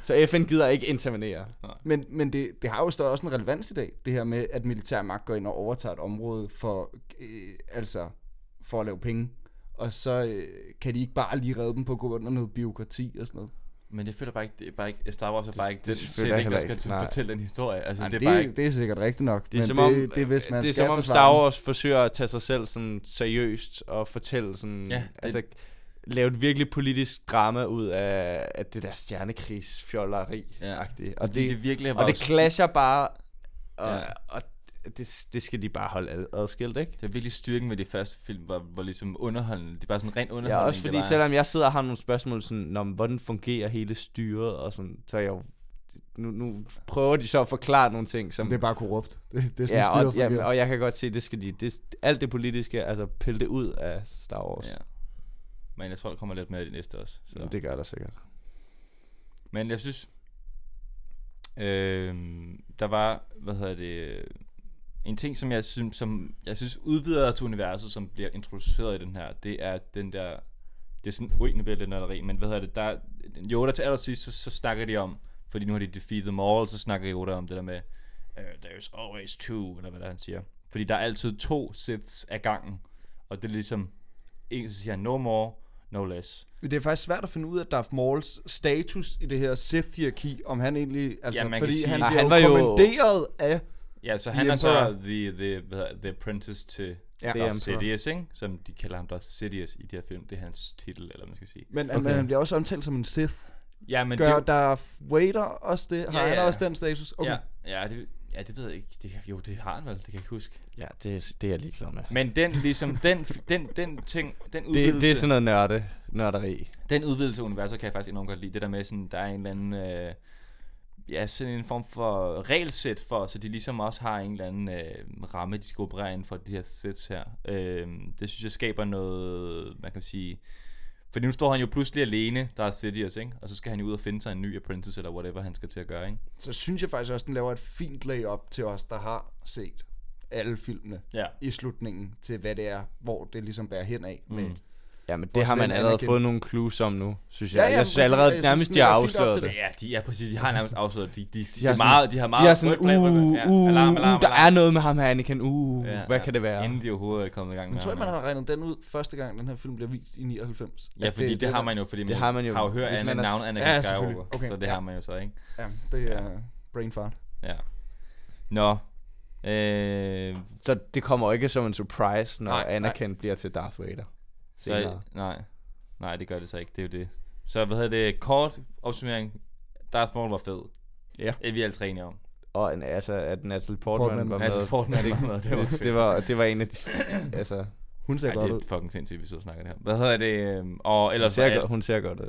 S2: Så FN gider ikke intervenere.
S3: Men, men det, det har jo så også en relevans i dag, det her med, at militær magt går ind og overtager et område for, øh, altså, for at lave penge. Og så øh, kan de ikke bare lige redde dem på at gå under noget byråkrati og sådan noget.
S1: Men jeg føler bare ikke, det er bare ikke Star Wars er bare ikke
S3: det
S1: den
S3: føler jeg
S1: sætning,
S3: heller
S1: der skal
S3: ikke,
S1: til
S3: nej.
S1: at fortælle den historie. Altså,
S3: Jamen,
S1: det er bare ikke...
S3: det er sikkert rigtigt nok,
S2: Det er
S3: men
S2: som
S3: det,
S2: om,
S3: det er hvis man
S2: det er
S3: skal
S2: som om
S3: forsvare
S2: Star
S3: den.
S2: Wars forsøger at tage sig selv sådan seriøst og fortælle sådan,
S1: Ja,
S2: ja,
S1: det-
S2: altså lave et virkelig politisk drama ud af, af det der stjernekrigsfjolleri
S1: Ja.
S2: ja. agtigt
S1: Og
S2: Og
S1: det,
S2: det,
S1: det virkelig er
S2: og
S1: bare...
S2: det clasher bare, og,
S1: Ja.
S2: ja. og det, det skal de bare holde ad- adskilt, ikke?
S1: Det er virkelig styrken ved de første film, hvor, hvor ligesom underholdende, det er bare sådan ren
S2: Ja,
S1: underholdning.
S2: også fordi
S1: det var,
S2: selvom jeg sidder og har nogle spørgsmål sådan, om hvordan fungerer hele styret og sådan, så er jeg jo, nu, nu prøver de så at forklare nogle ting, som
S3: Det er bare korrupt. Det, det er sådan
S2: Ja, og,
S3: styret
S2: ja,
S3: fungerer.
S2: og jeg kan godt se, det skal de, det, alt det politiske, altså pille det ud af Star Wars.
S1: Ja. Men jeg tror, der kommer lidt mere i det næste også. Så.
S2: Så. Det gør der sikkert.
S1: Men jeg synes, øh, der var, hvad hedder det, en ting, som jeg synes, som jeg synes udvider til universet, som bliver introduceret i den her, det er den der, det er sådan, ui, nu bliver det lidt nørderi, men hvad hedder det, der, Yoda til allersidst, så, så snakker de om, fordi nu har de defeated them all, så snakker Yoda om det der med, uh, there's always two, eller hvad der han siger. Fordi der er altid to sets af gangen, og det er ligesom, en så siger han, no more, no less.
S6: Det er faktisk svært at finde ud af Darth Mauls status i det her Sith-hierarki, om han egentlig... Altså,
S1: Ja, man kan
S6: fordi
S1: sige-
S6: han
S2: Nej,
S6: bliver
S2: han var
S6: jo
S2: jo-
S6: kommanderet af...
S1: Ja, så
S6: The
S1: han er så
S6: Emperor.
S1: the, the, hvad hedder- the apprentice til ja, Darth
S2: The Emperor.
S1: Sidious, ikke? Som de kalder ham Darth Sidious i de her film. Det er hans titel, eller hvad man skal sige.
S6: Men, okay. men han bliver også omtalt som en Sith.
S1: Ja, men
S6: Gør
S1: det...
S6: Darth Vader også det? Har
S1: Ja,
S6: ja, ja.
S1: ja.
S6: han også den status? Okay.
S1: Ja,
S6: Ja.
S1: ja, det, ja, det ved jeg ikke. Det, jo, det har han vel. Det kan jeg ikke huske.
S2: Ja, det, det er jeg ligeglad med.
S1: Men den, ligesom, den, den, den ting, den udvidelse,
S2: Det, det er sådan noget nørde, nørderi.
S1: den udvidelse af universet kan jeg faktisk enormt godt lide. Det der med, sådan, der er en eller anden... Øh, ja, sådan en form for regelsæt for, så de ligesom også har en eller anden øh, ramme, de skal operere inden for de her sæt her. Øh, det synes jeg skaber noget, man kan sige... Fordi nu står han jo pludselig alene, der er Sidious, ikke? Og så skal han jo ud og finde sig en ny apprentice, eller whatever han skal til at gøre, ikke?
S3: Så synes jeg faktisk også, den laver et fint layup til os, der har set alle filmene
S1: Ja.
S3: i slutningen til, hvad det er, hvor det ligesom bærer hen af. Mm. Med.
S2: Ja, men det
S3: Vores
S2: har man
S3: ven
S2: allerede
S3: Anakin.
S2: fået nogle clues om nu, synes
S3: Ja,
S2: jeg.
S3: ja,
S2: jeg synes
S3: præcis, og jeg
S2: allerede
S3: synes,
S2: nærmest,
S3: den
S2: de har
S3: ligger fint op
S2: afsløret
S3: til
S2: det.
S1: Ja, de, ja, præcis. De har nærmest afsløret. De, de, de, de,
S2: har
S1: er
S2: sådan-
S1: meget, de har meget...
S2: De er sådan,
S1: rødt flag, rødt flag.
S2: uh,
S1: Ja,
S2: uh,
S1: alarm,
S2: uh,
S1: alarm,
S2: der
S1: alarm.
S2: er noget med ham her, Anakin. Uh,
S1: Ja,
S2: hvad
S1: ja.
S2: kan det være?
S1: Inden de overhovedet er kommet i gang med
S3: Jeg tror
S1: ham,
S3: ikke, man
S1: altså.
S3: har regnet den ud første gang, den her film bliver vist i 99.
S1: Ja,
S3: At
S1: fordi det, det har man jo, fordi man,
S2: har man jo,
S1: har jo hørt
S2: hvis
S1: Anna,
S2: man er s-
S1: navn Anakin
S3: Ja,
S1: ja,
S3: selvfølgelig.
S1: Skywalker, okay.
S3: Okay,
S1: så det
S3: ja.
S1: har man jo så, ikke?
S3: Ja, det er ja. brain fart.
S1: Ja. Nå. Øh,
S2: Så det kommer jo ikke som en surprise, når
S1: Nej, nej.
S2: Anakin bliver til Darth Vader.
S1: så,
S2: Senere.
S1: nej. Nej, det gør det så ikke. Det er jo det. Så hvad hedder det? Kort opsummering. Darth Maul var fed.
S2: Ja.
S1: Det er vi alle tre enige om.
S2: Og en, altså, at Natalie Portman,
S3: Portman.
S2: var med.
S1: Altså, Fortnite ikke noget. Det var,
S2: det, det, var, det var en af de... altså,
S3: Hun ser
S1: Ej,
S3: godt
S1: det
S3: ud.
S1: er fucking sindssygt, vi sidder og snakker det her. Hvad hedder det? øhm, Og
S2: hun,
S1: ellers
S2: ser
S1: er
S2: godt, hun ser godt ud.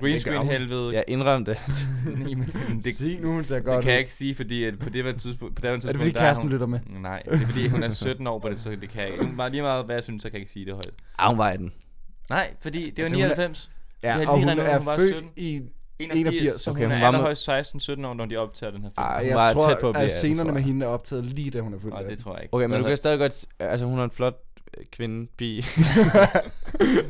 S1: green
S3: Det gør
S1: screen
S3: hun.
S1: helvede.
S2: Jeg indrømte det.
S1: Nej, men det,
S3: Sig nu, hun ser
S1: det
S3: godt
S1: kan jeg
S3: ud.
S1: ikke sige, fordi at på det her tidspunkt, på det her tidspunkt
S3: Er det fordi
S1: der er
S3: kæresten
S1: hun,
S3: lytter med?
S1: Nej, det er fordi hun er 17 år på det, så det kan jeg ikke. Bare lige meget hvad jeg synes, så kan jeg ikke sige det højt.
S2: Ah, hun var i den.
S1: Nej, fordi det var
S3: Altså, hun er-
S1: 99.
S2: Ja,
S1: Vi har
S3: Og
S1: lige
S3: hun
S1: regnet ud,
S3: er
S1: hun var
S3: født
S1: 17.
S3: i...
S1: 81.
S3: 81.
S1: Så
S2: Okay,
S1: hun,
S2: hun
S1: er
S2: var med-
S1: allerhøjst 16-17 år, når de optager den her film.
S2: Ej,
S1: Ej,
S2: hun
S3: Jeg
S2: var
S3: tror,
S2: tæt på at blive
S3: at
S2: 18,
S3: scenerne
S2: tror
S3: med
S2: jeg.
S3: hende er optaget lige da hun er født.
S1: Nå, det
S3: det
S1: tror jeg ikke.
S2: Okay, men
S1: Hvad
S2: du kan
S1: hedder-
S2: stadig godt... s- Altså, hun er en flot øh, kvinde, bi.
S3: Se, det du
S1: Hun er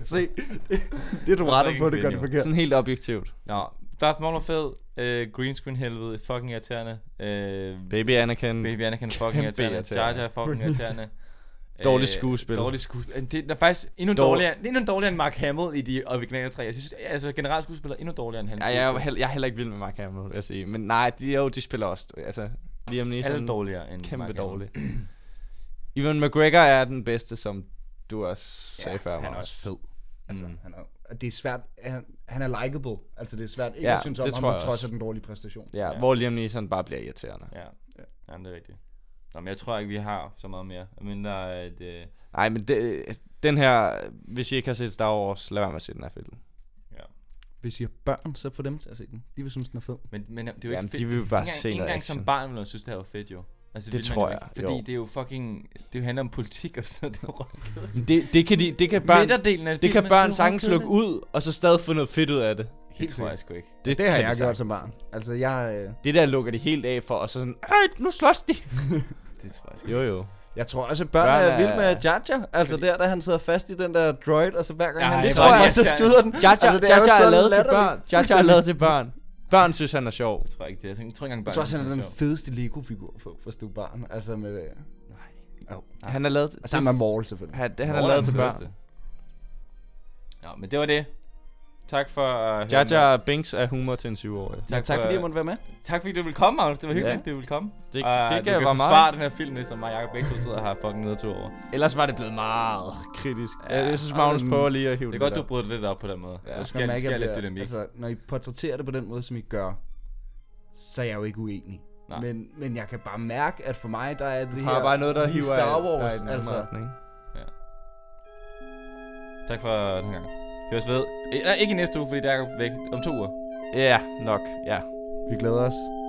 S1: så
S3: retter
S1: ikke
S3: på,
S1: en
S3: det gør
S1: kvinde,
S3: det
S1: jo.
S3: forkert.
S2: Sådan helt objektivt.
S1: Nå, Darth Maul var fed. Øh, green screen helvede. Fucking irriterende. Øh,
S2: Baby Anakin.
S1: Baby Anakin er fucking
S2: Kæmpe
S1: irriterende.
S2: irriterende.
S1: Jar Jar er fucking irriterende. Øh,
S2: Dårligt skuespil.
S1: Dårligt skuespil. Det er faktisk endnu
S2: Dår-
S1: dårligere, det er endnu dårligere end Mark Hamill i de originale tre. Jeg synes, altså generelt skuespiller er endnu dårligere end hans
S2: Ja, jeg, er, jo
S1: skuespil.
S2: heller- jeg er heller ikke vild med Mark Hamill, vil jeg sige. Men nej, de, jo, de spiller også. Altså, Liam Neeson.
S1: Alle dårligere end
S2: Kæmpe
S1: Mark
S2: dårlig. Ewan McGregor er den bedste, som du også sagde før.
S3: han
S2: Magnus.
S3: er også fed. Altså,
S1: Mm.
S3: mm. han er, og det er svært, han, han er likable. Altså, det er svært ikke
S2: Ja,
S3: ja, at synes om
S2: det
S3: ham,
S2: tror
S3: på
S2: jeg
S3: trods
S2: også.
S3: af den dårlige præstation.
S2: Ja,
S1: Ja.
S2: hvor Liam Neeson bare bliver irriterende.
S1: Ja. ja. Jamen, det er rigtigt. Nå, men jeg tror ikke, vi har så meget mere. Men der er et... Øh,
S2: Nej, men det, den her, hvis I ikke har set Star Wars, lad være med at se den her film.
S1: ja.
S3: Hvis I har børn, så få dem til at se den. De vil synes, den er fed.
S1: Men, men det er jo
S2: Jamen,
S1: ikke fedt.
S2: de vil jo bare
S1: Ikke engang-
S2: se
S1: ikke
S2: noget
S1: engang som
S2: action.
S1: barn ville jeg synes, det her var fedt jo. Altså,
S2: Det
S1: ville man
S2: tror
S1: jo ikke,
S2: jeg,
S1: Fordi
S2: jo.
S1: det er jo fucking... Det handler om politik og sådan noget. Det er jo røv-
S2: Det, det kan, de, det kan børn,
S1: Midterdelen af
S2: det kan
S1: filmen,
S2: børn
S1: jo
S2: sagtens
S1: røvkedeligt.
S2: lukke ud, og så stadig få noget fedt ud af det.
S1: Det tror jeg sgu ikke.
S2: Det,
S3: Det har
S2: kan
S3: jeg
S2: de
S3: gjort som
S2: sagtens.
S3: barn. Altså, jeg, øh,
S2: Det der lukker de helt af for, og så sådan, Øj, nu slås de.
S1: Det tror jeg sgu ikke.
S2: Jo, jo.
S3: jeg tror også, at børn,
S2: Børn
S3: børn er
S2: er-
S3: vilde med Jar Jar. Altså, der, da han sidder fast i den der droid, og så hver gang
S1: Ja,
S3: han
S1: det
S3: lige
S2: tror
S3: tror,
S2: jeg
S3: jeg,
S1: også,
S3: så
S1: ja.
S3: skyder den.
S2: Jar Jar,
S3: Altså, det er
S2: Jar,
S3: jo
S2: Jar
S3: så
S2: er lavet til
S3: latterligt.
S2: børn. Jar Jar er lavet til børn. Børn synes, han er sjov.
S1: Jeg tror ikke det. Jeg tænker- jeg tror ikke engang
S3: Jeg
S1: bare,
S3: tror også, han er den fedeste Lego-figur for, for Stu Barn. Altså med... Øh,
S2: Han er lavet,
S3: og sammen med Maul, selvfølgelig.
S2: han, han er lavet til børn.
S1: Ja, men det var det. Tak for øh, at høre
S2: Jar
S1: med.
S2: Jar Binks er humor til en 20-årig.
S1: Tak,
S3: Tak fordi
S1: for,
S3: jeg måtte være med.
S1: tak fordi du ville komme, Magnus. Det var hyggeligt, ja. du ville komme.
S2: Det, det,
S1: Og øh,
S2: det
S1: du
S2: gav var
S1: forsvare
S2: meget.
S1: den her film, nu, som mig og Jacob begge to sidder her fucking nede to over.
S2: Ellers var det blevet meget kritisk. Ja,
S1: Ja,
S2: jeg synes, Magnus
S3: men-
S2: prøver lige at hive
S1: Det er
S2: den
S1: godt,
S2: der.
S1: du brød det lidt op på den måde. Ja,
S3: Ja,
S1: der
S3: når man
S1: skal,
S3: ikke
S1: skal
S3: bliver-
S1: lidt dynamik. Altså,
S3: Altså, når I portrætterer det på den måde, som I gør, så er jeg jo ikke uenig.
S1: Nej.
S3: Men, men jeg kan bare mærke, at for mig, der er det
S2: har
S3: her...
S2: bare noget, der
S3: lige
S2: hiver
S3: Star
S2: i- der
S3: Wars,
S2: i den anden
S3: altså.
S2: retning.
S1: tak for den her gang. Høres ved. Eh, nej, Ikke i næste uge, fordi der er Jacob væk om to uger.
S2: Ja, nok. Ja.
S3: Vi glæder os.